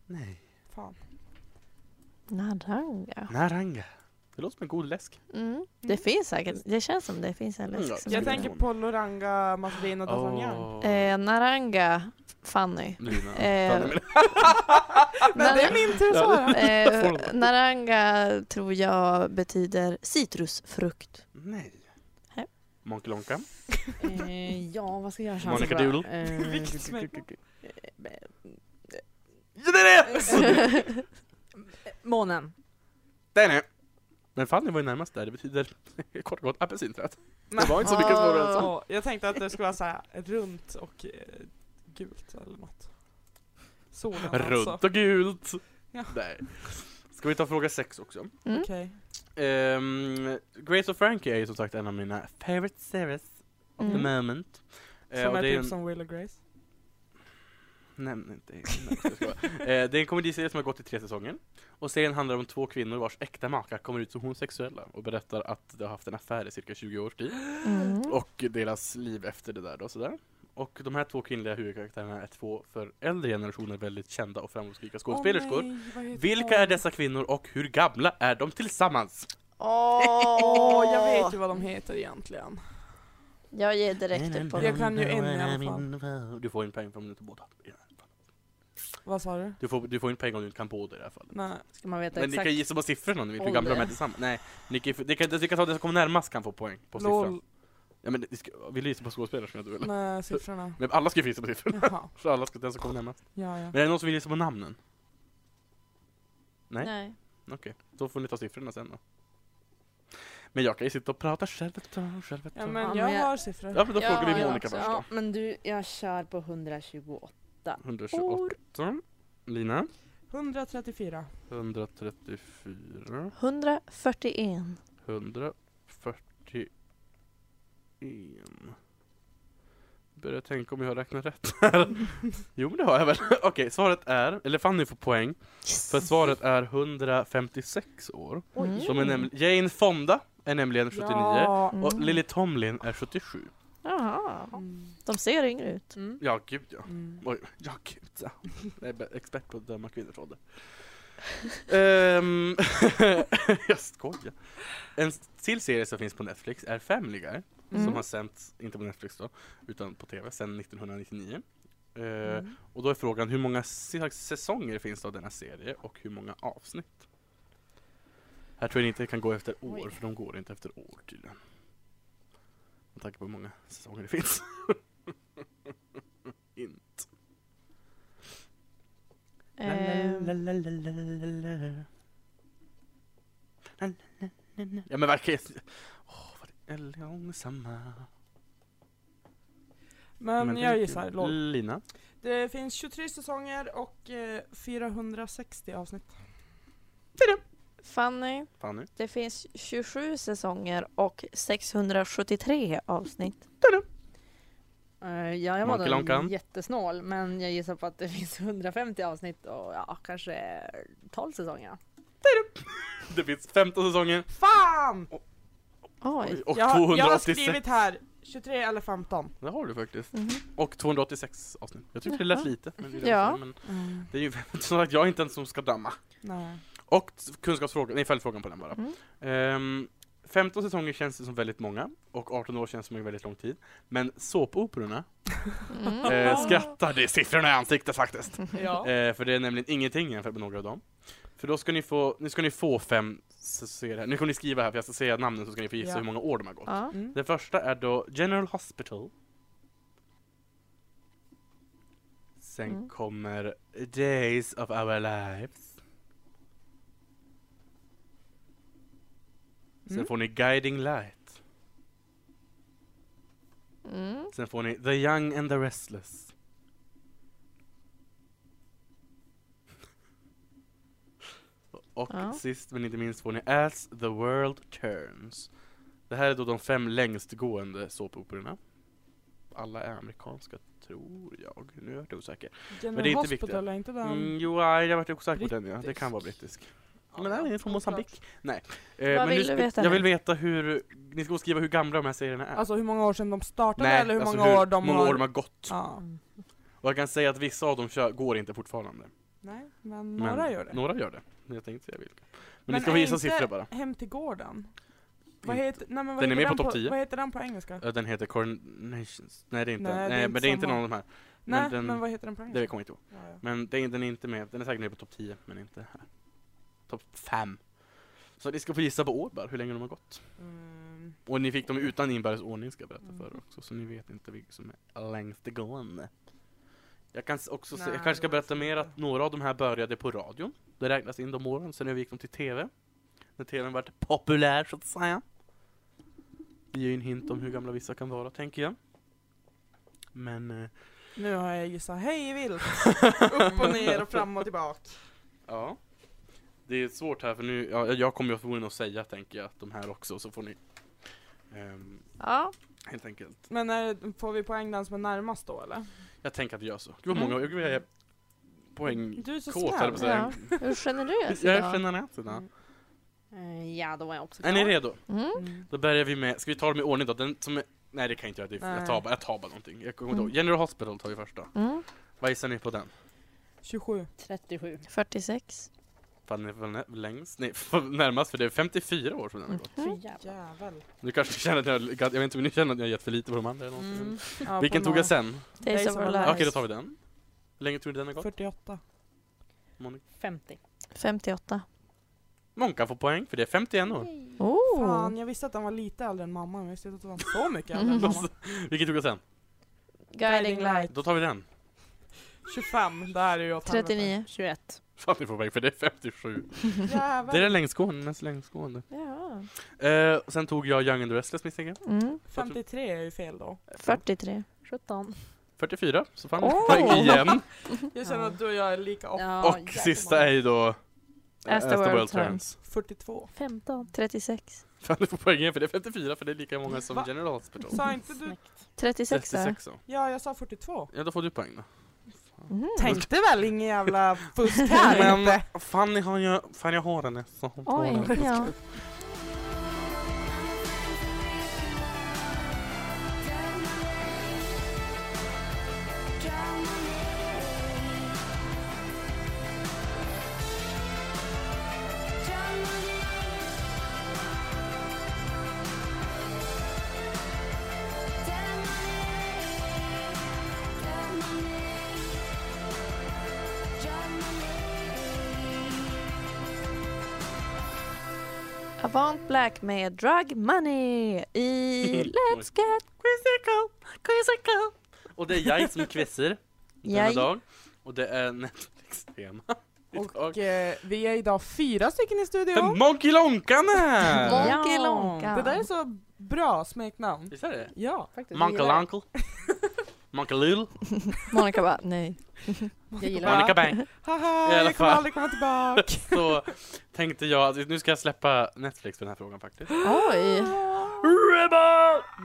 Nej. Fan. Naranga. Naranga. Det låter som en god läsk. Mm. Det finns säkert, det känns som det finns en Ja, läsk som Jag heter- tänker på Loranga, Masvin och Dasanjang. eh, Naranga Fanny. Lina. eh, Fanny, Men det är min tur att svara. Eh, Får de? naranga tror jag betyder citrusfrukt. men- Nej. Nej. Monkey Lonka. Eh, ja, vad ska jag chansa Monica på? Doodle. Eh, Vilket smeknamn? Ja, det är det! eh, Månen. Det är det! Men Fanny var ju närmast där. Det betyder kort och gott apelsinträd. Det var inte så mycket Åh. svårare än så. Åh, jag tänkte att det skulle vara så här runt och eh, gult eller något. Solen Runt alltså. och gult. Ja. Nej. Ska vi ta fråga sex också? Mm. Okej. Ehm, Grace och Frankie är ju som sagt en av mina favorite series of Mm. the moment. Eh, Som och är det typ en- som Will och Grace. Nämn inte nej, jag skojar. eh, Det är en komediserie som har gått i tre säsonger. Och serien handlar om två kvinnor vars äkta makar kommer ut som homosexuella och berättar att de har haft en affär i cirka 20 års tid. Mm. Och deras liv efter det där då, sådär. Och de här två kvinnliga huvudkaraktärerna är två för äldre generationer väldigt kända och framgångsrika skådespelerskor. Åh, nej, vad heter de? Vilka är dessa kvinnor och hur gamla är de tillsammans? Åh, Åh, jag vet ju vad de heter egentligen. Jag ger direkt upp på Jag dem. kan ju en i alla fall. Du får en poäng om du inte båda. Vad sa du? Du får, du får en poäng om du inte kan båda i det här fallet. Nej. Ska man veta Men ni exakt? kan gissa på siffrorna om ni vet hur Ålder. gamla de är tillsammans. Nej, ni kan, ni kan, ni kan ta den som kommer närmast kan få poäng på siffran. LOL. Ja, men, ni ska, vill du gissa på skådespelare som jag eller? Nej, siffrorna. Men alla ska ju få gissa på siffrorna. Jaha. Så alla ska, den som kommer närmast. Ja, ja. Men är det någon som vill gissa på namnen? Nej. Nej. Okej, då får ni ta siffrorna sen då. Men jag kan ju sitta och prata själv ett tag, själv ett Ja, tag. men men jag jag- har siffror. Ja, men då Ja, frågar vi jag Monica först då. Ja, men du, jag kör på 128. 128. Lina. 134. 134. 141. 141. Börjar tänka om jag har räknat rätt här. jo men det har jag väl. Okej, svaret är, eller Fanny får poäng, för svaret är 156 år. Mm. Som är näml- Jane Fonda är nämligen 79 Ja. Mm. och Lily Tomlin är 77. Jaha, Mm. de ser yngre ut. Mm. Ja gud ja. Mm. Oj, ja gud ja. Jag är be- expert på att döma kvinnor från det. Ehm, jag skojar. En s- till serie som finns på Netflix är Family Guy. Mm. Som har sänts, inte på Netflix då, utan på TV sedan 1999. Eh, Mm. Och då är frågan hur många s- säsonger finns det av denna serie och hur många avsnitt? Här tror jag inte det kan gå efter år, Oj. för de går inte efter år tydligen. Med tanke på hur många säsonger det finns. Hint. Eh, Ja men verkligen. Åh, vad det är långsamma. Men det jag gick ju. gissar. LOL. Lina. Det finns 23 säsonger och eh, 460 avsnitt. Fanny, Fanny. det finns 27 säsonger och 673 avsnitt. Eh, ja, jag var Monkey Lonkan. nog jättesnål, men jag gissar på att det finns 150 avsnitt och ja, kanske 12 säsonger. Det finns 15 säsonger Fan! Oj. och jag, jag har 286. skrivit här 23 eller 15. Det har du faktiskt. Mhm. Och 286 avsnitt. Jag tyckte det lät Jaha. lite. Men det, är Ja. men det är ju som sagt, jag är inte den som ska damma. Nej. Mm-hmm. Och kunskapsfrågan, nej följdfrågan på den bara. Mm. Ehm, 15 säsonger känns det som väldigt många och 18 år känns som en väldigt lång tid. Men såpoperorna Mm. eh, skrattade i siffrorna i ansiktet faktiskt. Ja. Eh, för det är nämligen ingenting jämfört med några av dem. För då ska ni få, nu ska ni få fem så ser jag här. Nu kommer ni skriva här för jag ska säga namnen så ska ni få gissa Ja. hur många år de har gått. Ja. Mm. Den första är då General Hospital. Sen Mm. kommer Days of Our Lives. Sen Mm. får ni Guiding Light. Mm. Sen får ni The Young and the Restless. Och Ja. sist men inte minst får ni As the World Turns. Det här är då de fem längstgående såpoperorna. Alla är amerikanska, tror jag. Nu är jag osäker. General Men det är inte Hospital, viktigt. är inte den... Mm, jo, nej, jag varit osäker på den ja. Det kan Brittisk. vara brittisk. Ja, men den är från oklart. Moçambique. Nej. Eh, men vill nu du ska- veta Jag nu? vill veta hur, ni ska skriva hur gamla de här serierna är. Alltså hur många år sedan de startade eller hur alltså många år de många har... år de har gått. Ja. Och jag kan säga att vissa av dem kör, går inte fortfarande. Nej, men Men några gör det. Några gör det. Jag tänkte säga vilka. Men, ni Men ska är få gissa inte- siffror bara. Hem till gården. Vad Inte- heter, nej, men vad Den är heter med på topp 10. Vad heter den på engelska? Eh, Den heter Coronations. Nej det är inte Nej, den. det är Nej, inte men det är inte samma. någon av de här. Nej, men, den, vad heter den på engelska? det kommer jag inte ihåg. Ja, ja. Men det är, den är inte med. Den är säkert med på topp 10 men inte här. Topp 5. Så ni ska få gissa på år bara, hur länge de har gått. Mm. Och ni fick dem utan inbördes ordning ska jag berätta för er också. Så ni vet inte vilka som är längst gående. Jag kan s- också se, Nej, jag kanske ska det var berätta så mer inte. att några av de här började på radion. Det räknas in de åren, sen övergick de till TV. När TVn vart populär så att säga. Det ger ju en hint om hur gamla vissa kan vara, tänker jag. Men, eh, Nu har jag gissat hej vilt. Upp och ner och fram och tillbaka. ja. Det är svårt här för nu, ja, jag kommer ju förmodligen att säga tänker jag att de här också, så får ni ehm, Ja. helt enkelt. Men är, får vi poäng den som är närmast då eller? Jag tänker att vi gör så. Gud vad många, jag är poäng Mm. Du är så kåt höll jag på att säga. snäll. Ja. Hur generös Jag är idag. generös idag. Eh, Ja, då var jag också Är ni redo? Mm. Mm. Då börjar vi med, ska vi ta dem i ordning då? Den som är, nej det kan jag inte göra, det är, jag, tar, Nej. bara- jag tar bara någonting. Jag kommer inte Mm. ihåg. General Hospital tar vi först då. Mm. Vad gissar ni på den? 27. 37. 46. Fan, ni är väl nä- längst? Nej, närmast för det är 54 år som den har gått. Mm. Jävlar. Jävel. Nu kanske ni känner att jag, jag vet inte om ni känner att jag har gett för lite på de andra eller någonting. Mm. Ja, Vilken på tog några- jag sen? Days of our Okej, lives. då tar vi den. Hur länge tror ni den har gått? 48. Monica? 50. 58. Monka får poäng för det är 51 år. Oh. Fan, jag visste att han var lite äldre än mamma, men jag visste inte att han var så mycket äldre än mamma. Vilken tog jag sen? Guiding light. Då tar vi den. 25, det här är ju åt helvete. 39. 21. Fan, ni får poäng för det är 57. Jävel. Det är den längsgående, mest längsgående. Ja. Eh, och sen tog jag Young and the Restless misstänker jag. Mm. 53 är ju fel då. 43. 17. 44, så fan Åh! poäng igen. Jag känner Ja. att du och jag är lika off. Ja, Och jävlar. sista är ju då eh, As the world turns. 42. 15. 36. Fan, du får poäng igen för det är 54 för det är lika många som Va? General Hospital. Sa inte du? Snyggt. 36. va? 36 då. Ja, jag sa 42. Ja, då får du poäng då. Mm. Tänkte väl ingen jävla fusk här Men inte. Fanny har ju, fan jag har henne. Så hon tar Oj. den. Ja. Avant Black med Drug Money i Let's Get Quizzical. Quizzical. Och det är jag som quizzer denna Jag. dag. Och det är Netflix-tema. idag. Och eh, vi är idag fyra stycken i studion. Monkey Lonkan är! Monkey Ja. Lonka. Det där är så bra smeknamn. Visst är det? Ja. Faktiskt, jag Monkey gillar Lonkel. Monkey Lil. Monica bara, nej. det. Jag gillar Monica Bang. Haha, alla jag kommer fall. aldrig komma tillbaka. Så tänkte jag att nu ska jag släppa Netflix för den här frågan faktiskt. Oj,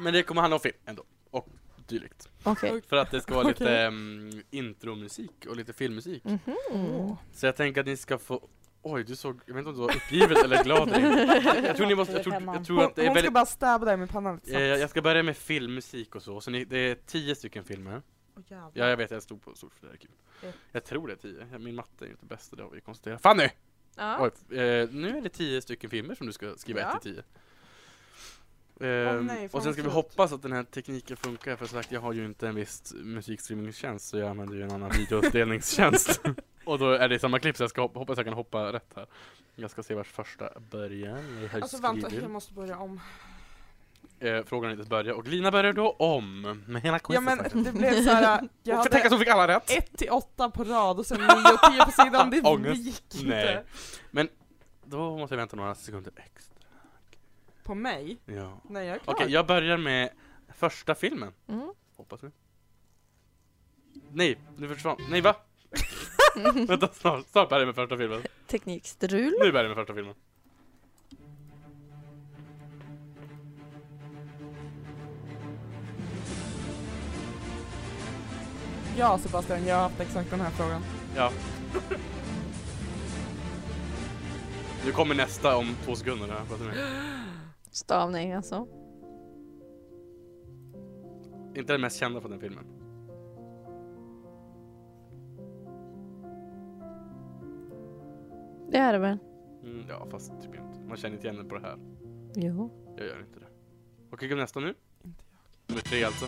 Men det kommer handla om film ändå. Och dylikt. okej. För att det ska vara lite um, intromusik och lite filmmusik. Mm. Så jag tänker att ni ska få Oj, du såg, jag vet inte om du var uppgivet eller glad eller- Jag tror ni måste, jag tror, jag tror Hon, att det är hon ska väldigt bara stäba dig med pannan lite Eh, snabbt. Jag ska börja med filmmusik och så, så ni, det är tio stycken filmer. Åh, jävlar. Ja, jag vet, jag stod på stort för det här är kul. Ja. Jag tror det är tio. Ja, Min matte är ju inte bäst, det har vi ju konstaterat. Fanny! Ja. Oj, eh, nu är det tio stycken filmer som du ska skriva Ja. ett till tio. Ehm, nej, fan och sen ska vi vad kul. hoppas att den här tekniken funkar för som sagt jag har ju inte en viss musikstreamingtjänst så jag använder ju en annan videouppdelningstjänst. och då är det samma klipp så jag ska hop- hoppas jag kan hoppa rätt här. Jag ska se vars första början jag har Alltså vänta, skrivit. jag måste börja om. Eh, frågan är inte börja och Lina börjar då om med hela Ja quizet faktiskt. men det blev såhär, jag Och Tänk att hade hon fick alla rätt! 1 till 8 på rad och sen 9 och 10 på sidan, det, det Ångest. gick inte. Nej. Men då måste jag vänta några sekunder extra. På mig? Ja. Nej jag är klar. Okej, jag börjar med första filmen. Mm. Hoppas vi. Nej, nu försvann. Nej va? Vänta, snart, snart börjar jag med första filmen. Teknikstrul. Nu börjar jag med första filmen. Ja Sebastian, jag har haft exakt den här frågan. Ja. Nu kommer nästa om två sekunder. har jag pratat med. Stavning alltså. Inte den mest kända från den filmen. Det är det väl? Mm, ja, fast typ inte. Man känner inte igen den på det här. Jo. Jag gör inte det. Okej, kom nästa nu. Nummer tre alltså.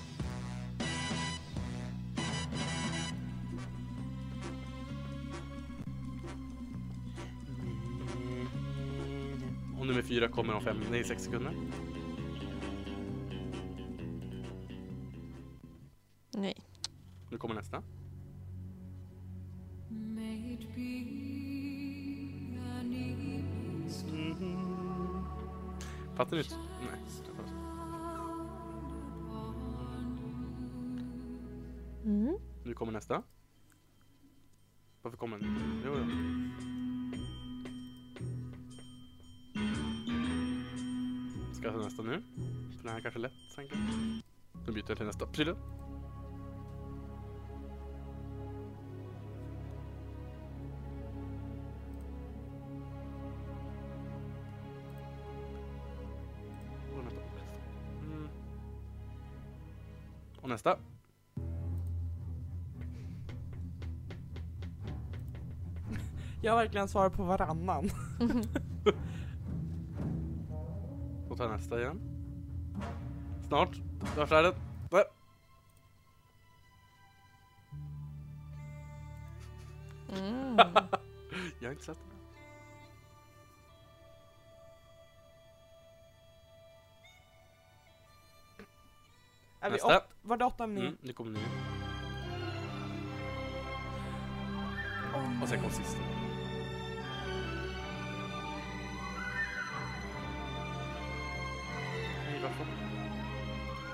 Och nummer fyra kommer om fem, nej sex sekunder. Nej. Nu kommer nästa. Fattar ni? inte? Nej. jag fattar inte. Mm. Nu kommer nästa. Varför kommer den? inte? Jo, jo. Ska jag ta nästa nu? För den här kanske är lätt, tänker jag. Då byter jag till nästa. Prylen. Och nästa. Mm. Och nästa. Jag har verkligen svarat på varannan. Då tar jag nästa igen. Snart. Snart är det. Där. Mm. Jag har inte sett den. Är vi Nästa. åt, var det åtta minuter? Mm, nu kommer ni. Och sen kom sista. Nej, varför?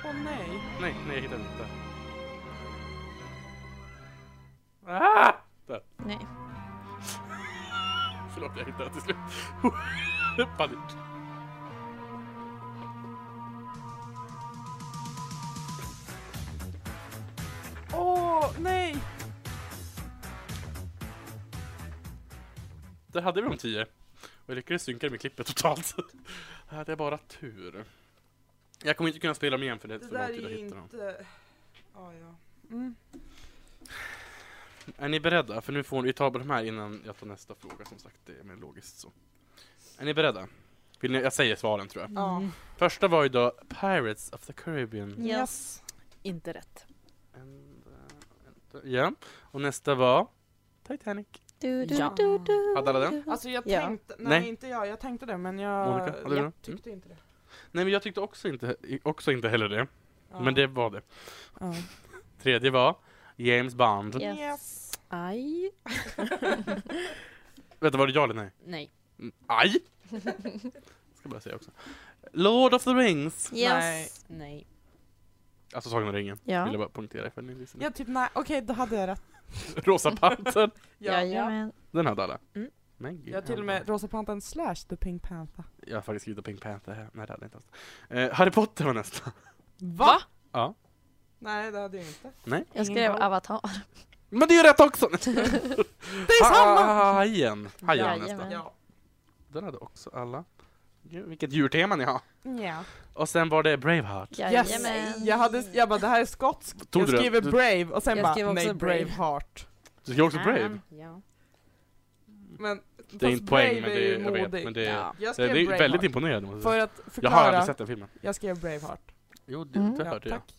Åh nej. Nej, nej, jag hittar den inte. Ah! Nej. Förlåt, jag hittade den till slut. Panik. Åh nej! Där hade vi de tio. Och jag lyckades synka det med klippet totalt. Här hade jag bara tur. Jag kommer inte kunna spela dem igen för det är Det för lång där tid att är hitta dem. inte... Ja, ja. Mm. Är ni beredda? För nu får vi ta de här innan jag tar nästa fråga som sagt. Det är mer logiskt så. Är ni beredda? Vill ni, jag säger svaren tror jag. Ja. Mm. Första var ju då Pirates of the Caribbean. Yes. Inte rätt. And, uh, ja. Och nästa var Titanic. Du, du, Ja. du, du. Hade alla den? Alltså jag Ja. tänkte, nej, Nej. inte jag, jag tänkte det men jag, Monica, hade du Mm. den? jag tyckte inte det. Nej men jag tyckte också inte, också inte heller det. Ja. Mm. Men det var det. Ja. Tredje var James Bond. Yes. Yes. Aj. Vänta, var det ja eller nej? Nej. Mm, Aj! Ska bara säga också. Lord of the Rings! Nej. Yes. Nej. Alltså Sagan om ringen. Ja. Vill jag bara punktera ifall ni lyssnar. Ja typ nej, okej då hade jag rätt. Rosa Pantern. Jajamän. Den hade alla. Mm. Men gud. Jag har till och med Rosa Pantern slash The Pink Panther. Jag har faktiskt skrivit Pink Panther här. Nej det hade jag inte alls. Eh, Harry Potter var nästa. Va? Ja. Nej det hade jag inte. Jag skrev avatar. Men det är ju rätt också! det är Ah, samma! Hajen! Hajen var Jajamän. nästa. Ja. Den hade också alla. Gud, vilket djurtema ni har. Ja. Och sen var det Braveheart. Yes. Jajamän. Jag, hade, jag bara det här är skotsk, Tog jag du den? skriver Du- Brave och sen Jag bara skrev också nej Brave. Braveheart. Du skrev också Brave. Ja. Men Det är inte poäng, men det är, jag vet, men det är, Ja. Jag det, skrev det är väldigt Braveheart. imponerande måste jag För säga. att Jag har förklara, aldrig sett den filmen. jag skrev Braveheart. Jo, det, Mm. det Ja, hörde jag. tack.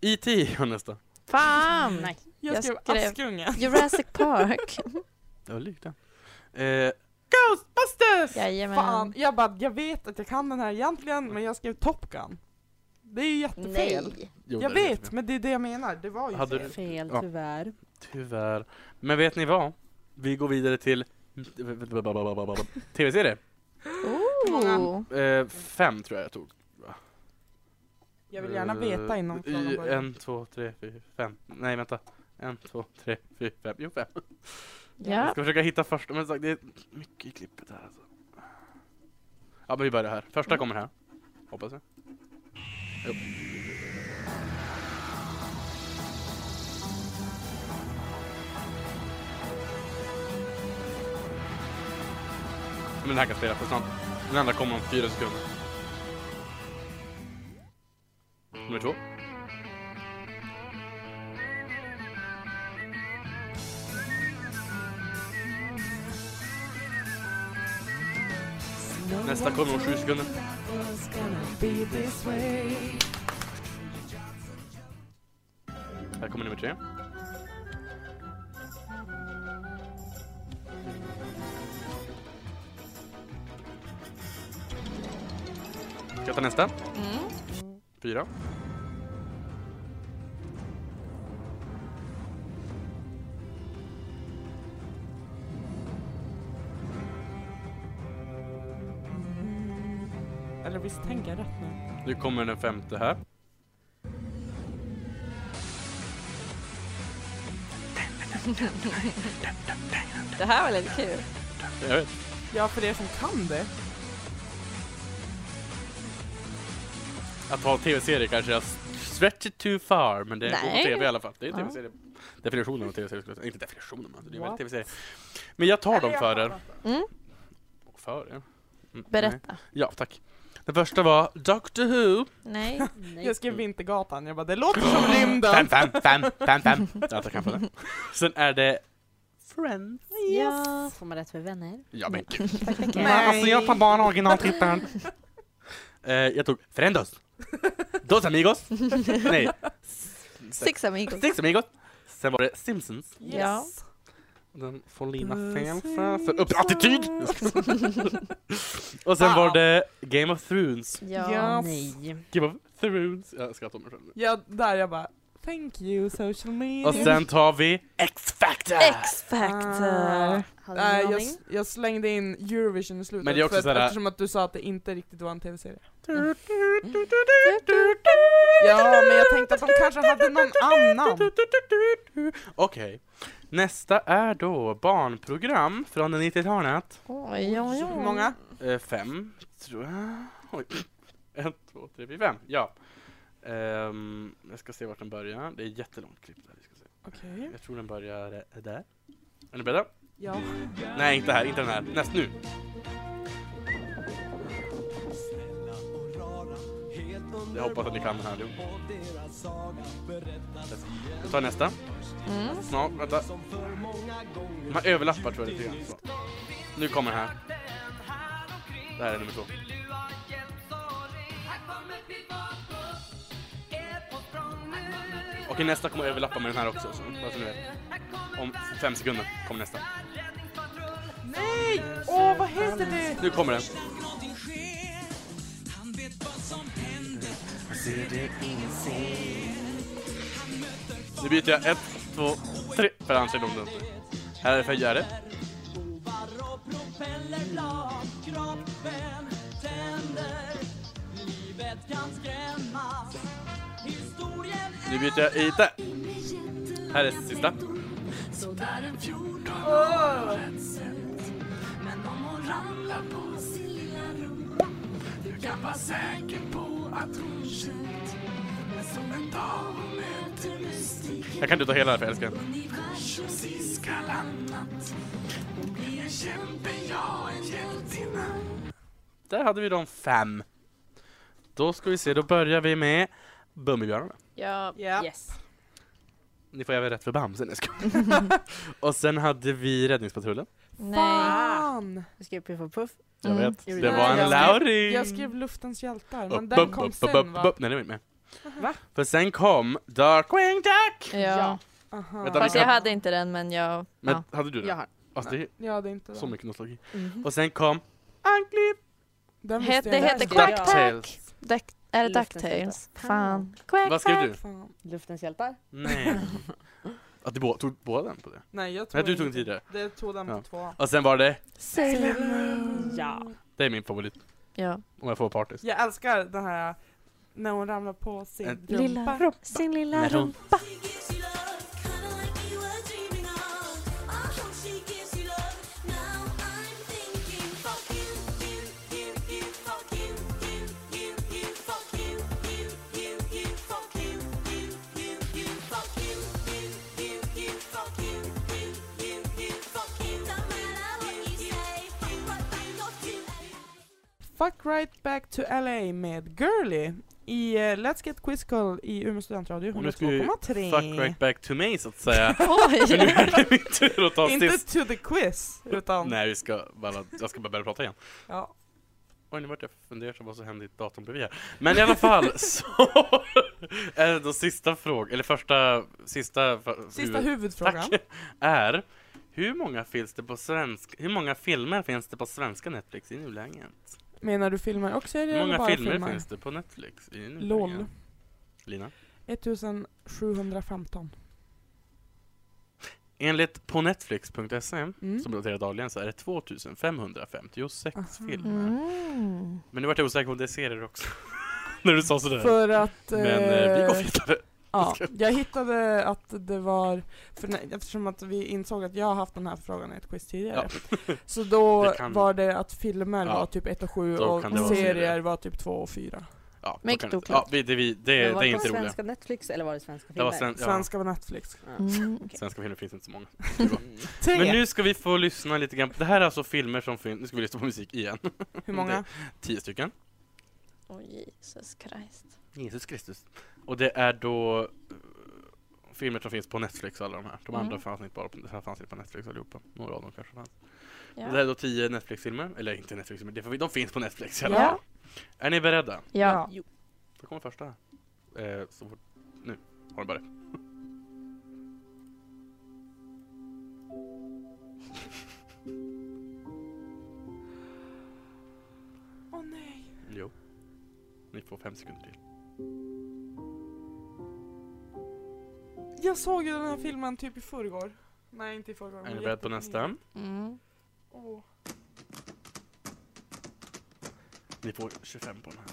E.T. var E nästa. Fan! Nej. Jag Jag skrev skrev- Askungen. Jurassic Park. Det var likt den. Eh, Ghostbusters! Jajamän. Fan, jag bara, jag vet att jag kan den här egentligen, men jag skrev Top Gun. Det är ju jättefel. Nej. jo, Jag det är vet, lite- men det är det jag menar. Det var ju Hade fel. Fel Ja. tyvärr. Tyvärr. Men vet ni vad? Vi går vidare till tv-serie. Oh. Eh, fem tror jag jag tog. Eh, Jag vill gärna veta innan I, planen börjar. En, två, tre, fyra, fem. Nej, vänta. En, två, tre, fyra, fem. Jo, fem. Jag Ja. ska försöka hitta första, men som sagt, det är mycket i klippet här alltså. Ja, men vi börjar här. Första kommer här. Hoppas jag. Jo. Men den här kan spela för snabbt. Den andra kommer om fyra sekunder. Nummer två. Nästa kommer om sju sekunder. Här kommer nummer tre. Ska jag ta nästa? Mm. Fyra. Eller visst tänker jag rätt nu? Nu kommer den femte här. Det här var lite kul. Jag vet. Ja, för er som kan det. Att ha tv-serier kanske jag stretch it too far, men det är Nej. tv i alla fall. Det är Ja. tv-serie. Definitionen av tv-serie skulle jag säga. Inte definitionen, men det är väl What? tv-serie. Men jag tar dem för er. Mm. För er? Mm, nej. Berätta. Ja, tack. Den första var Doctor Who. Nej. Nej. Jag skrev Mm. Vintergatan, jag bara det låter som rymden! Fem, fem, fem, fem, fem. Ja, tack för det. Sen är det Friends. Ja. Får man rätt för vänner? Ja, men gud. Tackar. Nej. Alltså, jag tar bara originaltrippen. eh, jag tog Friendos. Dos amigos. Nej. Six amigos. Six amigos. Sen var det Simpsons. Ja. Den får Lina Puss Fenfä för i upp attityd! och sen Wow. var det Game of Thrones. Ja. Ja. Nej. Game of Thrones. Jag skrattar om mig själv nu. Ja, där jag bara Thank you social media. Och sen tar vi X-Factor! Ah. X-Factor. Hade Nej, någon Eh, jag, aning? jag slängde in Eurovision i slutet Men det är också för att, såhär- eftersom att du sa att det inte riktigt var en tv-serie. Ja, men jag tänkte att de kanske hade någon annan. Okej. Nästa är då barnprogram från 90-talet. Oj, oj, oj. Hur många? Eh, fem, tror jag. Oj. En, två, tre, fyra, fem. Ja. Ehm, jag ska se vart den börjar. Det är ett jättelångt klipp där. Vi ska se. Okej. Jag tror den börjar eh, där. Är ni beredda? Ja. Nej, inte här, inte den här. Näst nu. Jag hoppas att ni kan den här allihop. Vi tar nästa. Mm. Snart, vänta. Man överlappar tror jag lite grann. Så. Nu kommer den här. Det här är nummer två. Okej, nästa kommer överlappa med den här också. Så, bara så ni vet. Om fem sekunder kommer nästa. Nej! Åh, vad heter det? Nu kommer den. Nu byter jag ett, två, tre, för han känner om den. Här är det följare. Nu byter jag i där. Här är sista. Jag kan inte ta hela här för jag älskar den. Där hade vi de fem. Då ska vi se, då börjar vi med Bumbibjörnarna. Ja. Ja. Yes. Ni får även rätt för Bamse, nej jag skojar. Och sen hade vi Räddningspatrullen. Nej. Fan! Vi skrev Piff och Puff. Jag Mm. vet. Gjorde Det du? var en Jag skrev- lauring! Jag skrev Luftens hjältar, men Upp, den upp, kom upp, upp, sen upp, va? upp. Nej, den var inte med. Va? För sen kom Darkwing Duck! Ja. Aha. Vänta, Fast vi jag kan- hade inte den men jag... Men Ja. hade du den? Jag har. Alltså det Jag hade inte är så den. mycket nostalgi. Mhm. Och sen kom Anklipp! Den Het, visste det jag inte. heter Ja. Quack Pack. Ducktails. Duck- Är det Luftens Ducktails? hjältar. Fan. Quack Vad skrev Pack. du? Fan. Luftens hjältar. Nej. Att du båda- tog båda den på det? Nej, jag Nej, tog du tog den inte. tidigare. Det tog den Ja. på tvåan. Och sen var det, Sailor Moon. Ja. det är min favorit, Ja. om jag får vara partisk. Jag älskar den här när hon ramlar på sin En- rumpa. Lilla rumpa. Sin lilla När hon- rumpa. Fuck right back to LA med Girly i eh, Let's Get Quizzical i Umeå studentradio Och nu ska vi fuck 102,3. right back to me så att säga. För nu Oj. är det min tur att ta Inte sist. to the quiz, utan... Nej, vi ska bara, jag ska bara börja prata igen. Ja. Oj, nu vart jag fundersam vad som hände i datorn bredvid här. Men i alla fall så är det då sista frågan, eller första, sista, fa- Sista huvud- huvudfrågan. Tack. Är, hur många finns det på svensk, hur många filmer finns det på svenska Netflix i nuläget? Menar du filmer och serier Hur eller många bara filmer, filmer? finns det på Netflix i nuläget? LOL. Lina? 1715. Enligt på netflix.se, Mm. som roterar dagligen, så är det 2556 Aha. filmer. Mm. Men nu vart jag osäker om det är serier också. När du sa sådär. För att... Men eh, vi går eh, vidare. Ja, jag hittade att det var, för när, eftersom att vi insåg att jag har haft den här frågan i ett quiz tidigare. Så då Det kan- var det att filmer Ja. var typ 1 och 7 Då och kan det vara serier serier. var typ 2 och 4. Ja, då Mycket kan- oklart. Ja, vi- det, vi- det, Men det, var är det på inte roligt. svenska Netflix eller var det svenska Det filmer? var sven, ja, svenska. Svenska på Netflix. Mm. filmer finns inte så många. Tre! Men nu ska vi få lyssna lite grann. Det här är alltså filmer som finns. Nu ska vi lyssna på musik igen. Hur många? Tio stycken. Åh Jesus Christ. Jesus Kristus. Och det är då eh, filmer som finns på Netflix alla de här. De Mm. andra fanns inte bara på, det här fanns inte på Netflix allihopa. Några av dem kanske fanns. Det här Ja. är då tio Netflix-filmer. Eller inte Netflix-filmer, det är för- de finns på Netflix i alla fall. Ja. Är ni beredda? Ja. Då kommer första. Eh, så fort. Nu har den börjat. Åh nej. Jo. Ni får fem sekunder till. Jag såg ju den här filmen typ i förrgår. Nej, inte i förrgår. Är men ni beredda på jättelänge. nästa? Mm. Åh. Ni får 25 på den här.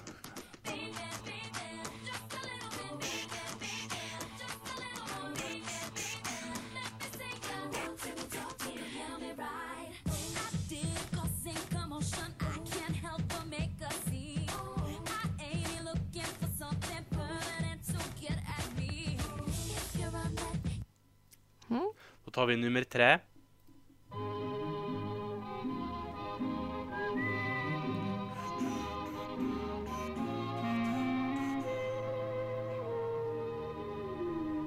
Då tar vi nummer tre.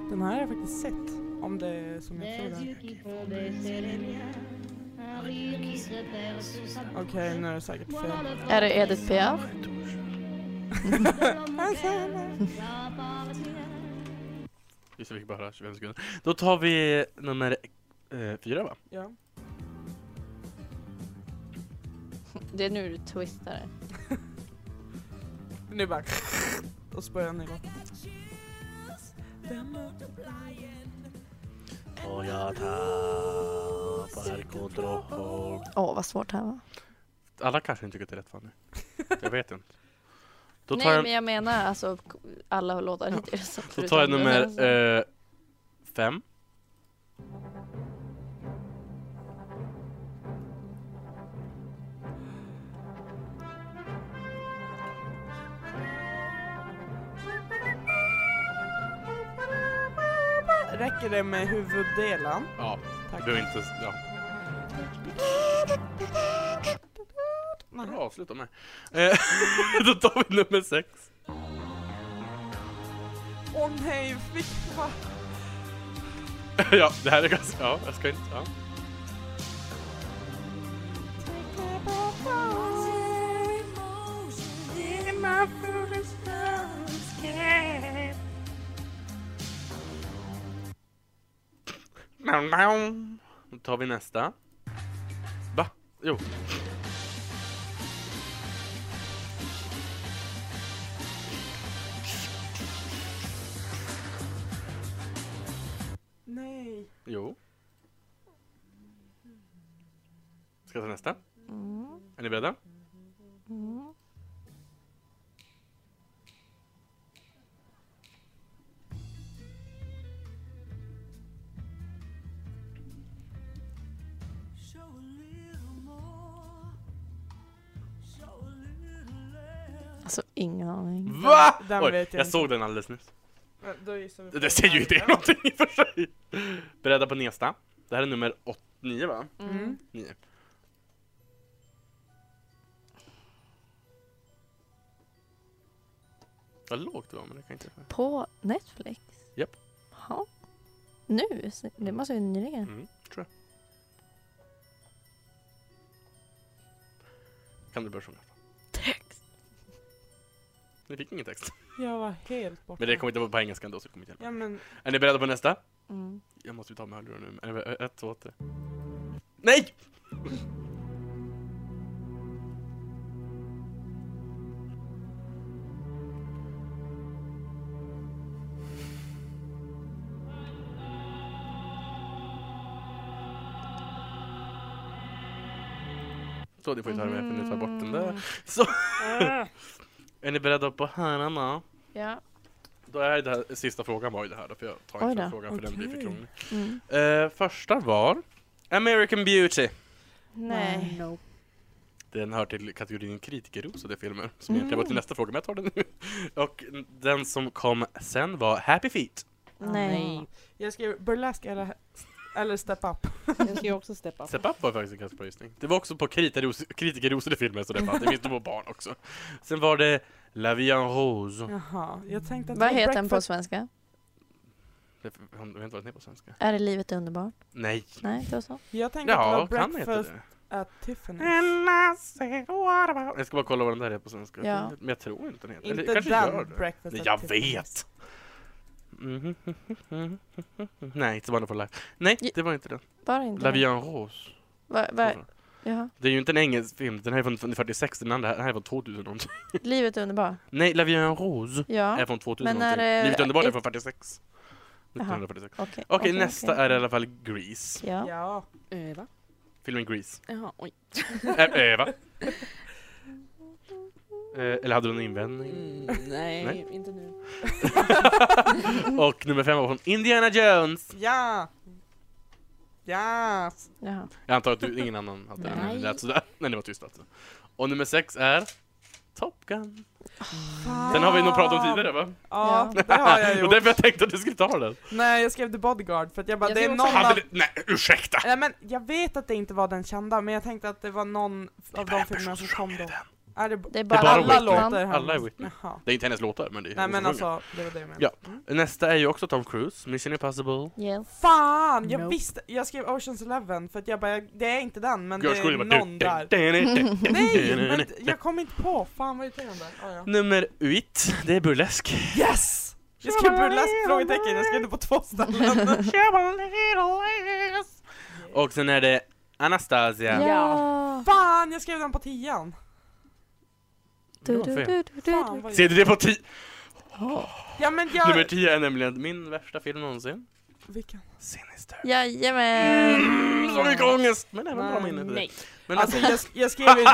Den här har jag faktiskt sett. Om det är som jag tror det är. Okej, nu är det säkert fel. Alltså, Är det Edith Piaf? Just det, vi fick bara höra 25 sekunder. Då tar vi nummer eh, fyra va? Ja. Det är nu du twistar. Nu bara... Och så börjar den igång. Och jag tappar kontroll. Åh vad svårt det här var. Alla kanske inte tycker att det är rätt Fanny. Jag vet inte. Då tar Nej jag, men jag menar alltså alla låtar hittills. då förutom tar jag den. nummer eh, fem. Räcker det med huvuddelen? Ja, Tack. du behöver inte... Ja. Bra, avsluta med. Eh, då tar vi nummer sex. Åh nej, fick va? ja, det här är ganska... Ja, jag ska inte... Ja. Då tar vi nästa. Va? Jo. Nej. Jo. Ska jag ta nästa? Mm. Är ni beredda? Alltså eh, ingen aning. Va? Den Oj, vet jag jag inte. såg den alldeles nyss. Ja, Då gissar vi på Det säger ju inte er andra. någonting i och för sig. Beredda på nästa. Det här är nummer 89 va? Mm. Nio. Vad lågt det var, men det kan inte... På Netflix? Japp. Ja. Nu? Så Det måste ju nyligen. Mm, tror jag. Kan du börja sjunga? Text. Ni fick ingen text. Jag var helt borta. Men det kommer inte vara på engelska ändå, så det kommer inte hjälpa. Ja men, Är ni beredda på nästa? Mm. Jag måste ju ta med hörlurar nu. men- eh, Ett, två, tre. Nej! Så, ni får ju ta det med för nu tar jag bort den Mm. där. Så! Äh. är ni beredda på hörarna? Ja. Då är det här, sista frågan var ju det här då, för jag tar Oj inte då, den frågan för den blir för okej. krånglig. Mm. Eh, första var American Beauty. Nej. Ah, Nope. Den hör till kategorin kritikerrosade filmer, som Mm. egentligen var till nästa fråga, men jag tar den nu. Och den som kom sen var Happy Feet. Ah, Nej. jag skrev burlesk eller, eller step up. Jag ska ju också steppa. Step Up var faktiskt en ganska bra gissning. Det var också på kriteros- kritikerrosade filmer, så det fanns. Det finns det på barn också. Sen var det La Vie en Mm. Rose. Jaha, jag tänkte att Vad det var heter den på breakfast- svenska? Jag vet inte vad den heter på svenska. Är det livet är underbart? Nej. Nej, det var så. Jag tänkte Ja, att det var kan heta breakfast det. at Tiffany's. And I say, what about- Jag ska bara kolla vad den där heter på svenska. Ja. Men jag tror inte den heter. Eller Inte kanske gör den det. breakfast Nej, at jag Tiffany's. vet! Mhm, mhm, mhm, mhm. Nej, inte Wonderful Life. Nej, Ja. det var inte den. Var det inte La det? Vie en Rose. Va, va, jaha. Det är ju inte en engelsk film. Den här är från 46, den andra den här är från 2000 någonting. Livet är underbart? Nej, La Vie en Rose är Ja. från 2000 Men är någonting. det- Livet är underbart är ett- från 46. 1946. Okej, Okej, okej, nästa okej. är i alla fall Grease. Ja. Ja. Eh, va? Filmen Grease. Jaha, oj. Ä- Eva? Eh, Eller hade du någon invändning? nej, Mm, Nej. inte nu. Och nummer fem var från Indiana Jones. Ja! Ja! Jaha. Jag antar att du, ingen annan hade den. Nej. Det lät sådär. Nej, det var tyst alltså. Och nummer sex är Top Gun. Den har vi nog pratat om tidigare va? Ja, Ja. Ah. det har jag och gjort. därför jag tänkte att du skulle ta den. Nej, jag skrev The Bodyguard för att jag bara, Jag det är skrev någon också av... Hade det, nej, ursäkta! Nej men jag vet att det inte var den kända, men jag tänkte att det var någon var av de en filmerna person som som kom sjöng då. i Är det, Det är bara bara alla Whitney. låtar. han- Alla är Whitney. Jaha. Det är inte hennes låtar, men det är Nej hon men som sjunger. alltså, det var det jag menade. Ja. Nästa är ju också Tom Cruise, Mission Impossible. Yes. Fan! Jag Nope. visste, jag skrev Oceans Eleven för att jag bara, det är inte den men Gör det skulle är vara- någon där. Nej! Men d- jag kom inte på, fan vad irriterande. Ah, ja. Nummer 8, det är burlesk. Yes! Jag skrev burlesk frågetecken, jag skrev det på två ställen. Och sen är det Anastasia. Ja. Fan, jag skrev den på tian! Du, du, du, du, Fan, du. vad Ser du det på 10? Ja men jag... Nummer 10 är nämligen min värsta film någonsin. Vilken? Sinister. Jajamän. Mm, så mycket ångest! Men även bra minne. till det. Nej. Men Alltså jag, sk- jag skrev ju...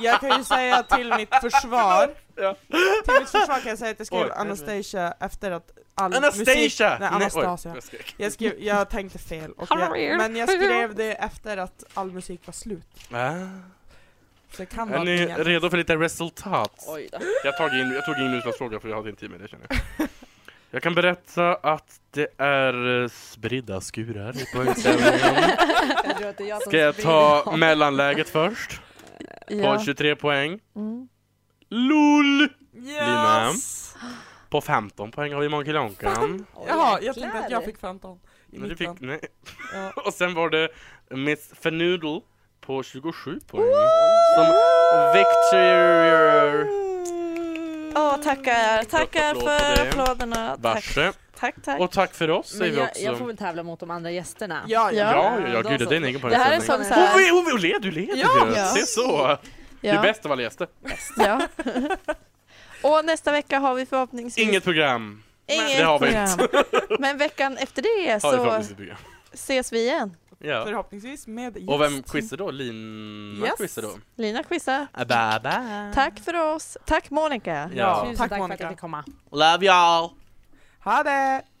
Jag kan ju säga till mitt försvar, Ja. till mitt försvar kan jag säga att jag skrev Oj, Anastasia efter att all musik... alltså, Anastasia! Nej, Anastasia. oj, jag skrek. Jag, skrev, jag tänkte fel, och jag, men jag skrev det efter att all musik var slut. Ah. Så det kan Är vara ni fel. redo för lite resultat? Oj då. Jag, tog in, jag tog in utslagsfråga för jag hade inte tid med det känner jag. Jag kan berätta att det är eh, spridda skurar i poängställningen. Jag tror att det är jag som Ska jag ta mellanläget först? På Ja. 23 poäng. Mm. LOL! Lina. Yes! På 15 poäng har vi Monkey Lonkan. Jaha, jag tänkte att jag fick 15. I Men du mitt fick, namn. nej. Ja. Och sen var det Miss Fanoodle på 27 poäng. Som Victor Åh, tackar. Tackar Applåd för för det. applåderna. Tack, Varse. tack, tack. Och tack för oss säger Men vi jag, jag får också. väl tävla mot de andra gästerna. Ja, ja. Ja. Ja, ja, ja, De gud, som- det är en egen Det här är en poängställning. sån så Hon, här... vi- hon, vi- hon leder, du leder Ja. ju! Ja. Se så! Du är Ja. bäst av alla gäster. ja. Och nästa vecka har vi förhoppningsvis Inget program. inget Det har vi program. Men veckan efter det Har vi så förhoppningsvis ett program. ses vi igen. Ja. Förhoppningsvis med gäst. Och vem quizar då? Lina Yes. quizar då? Lina quizar. Bye bye! Tack för oss. Tack Monica. Ja. Tusen Tack, tack för att Monica. jag fick komma. Love y'all! Ha det!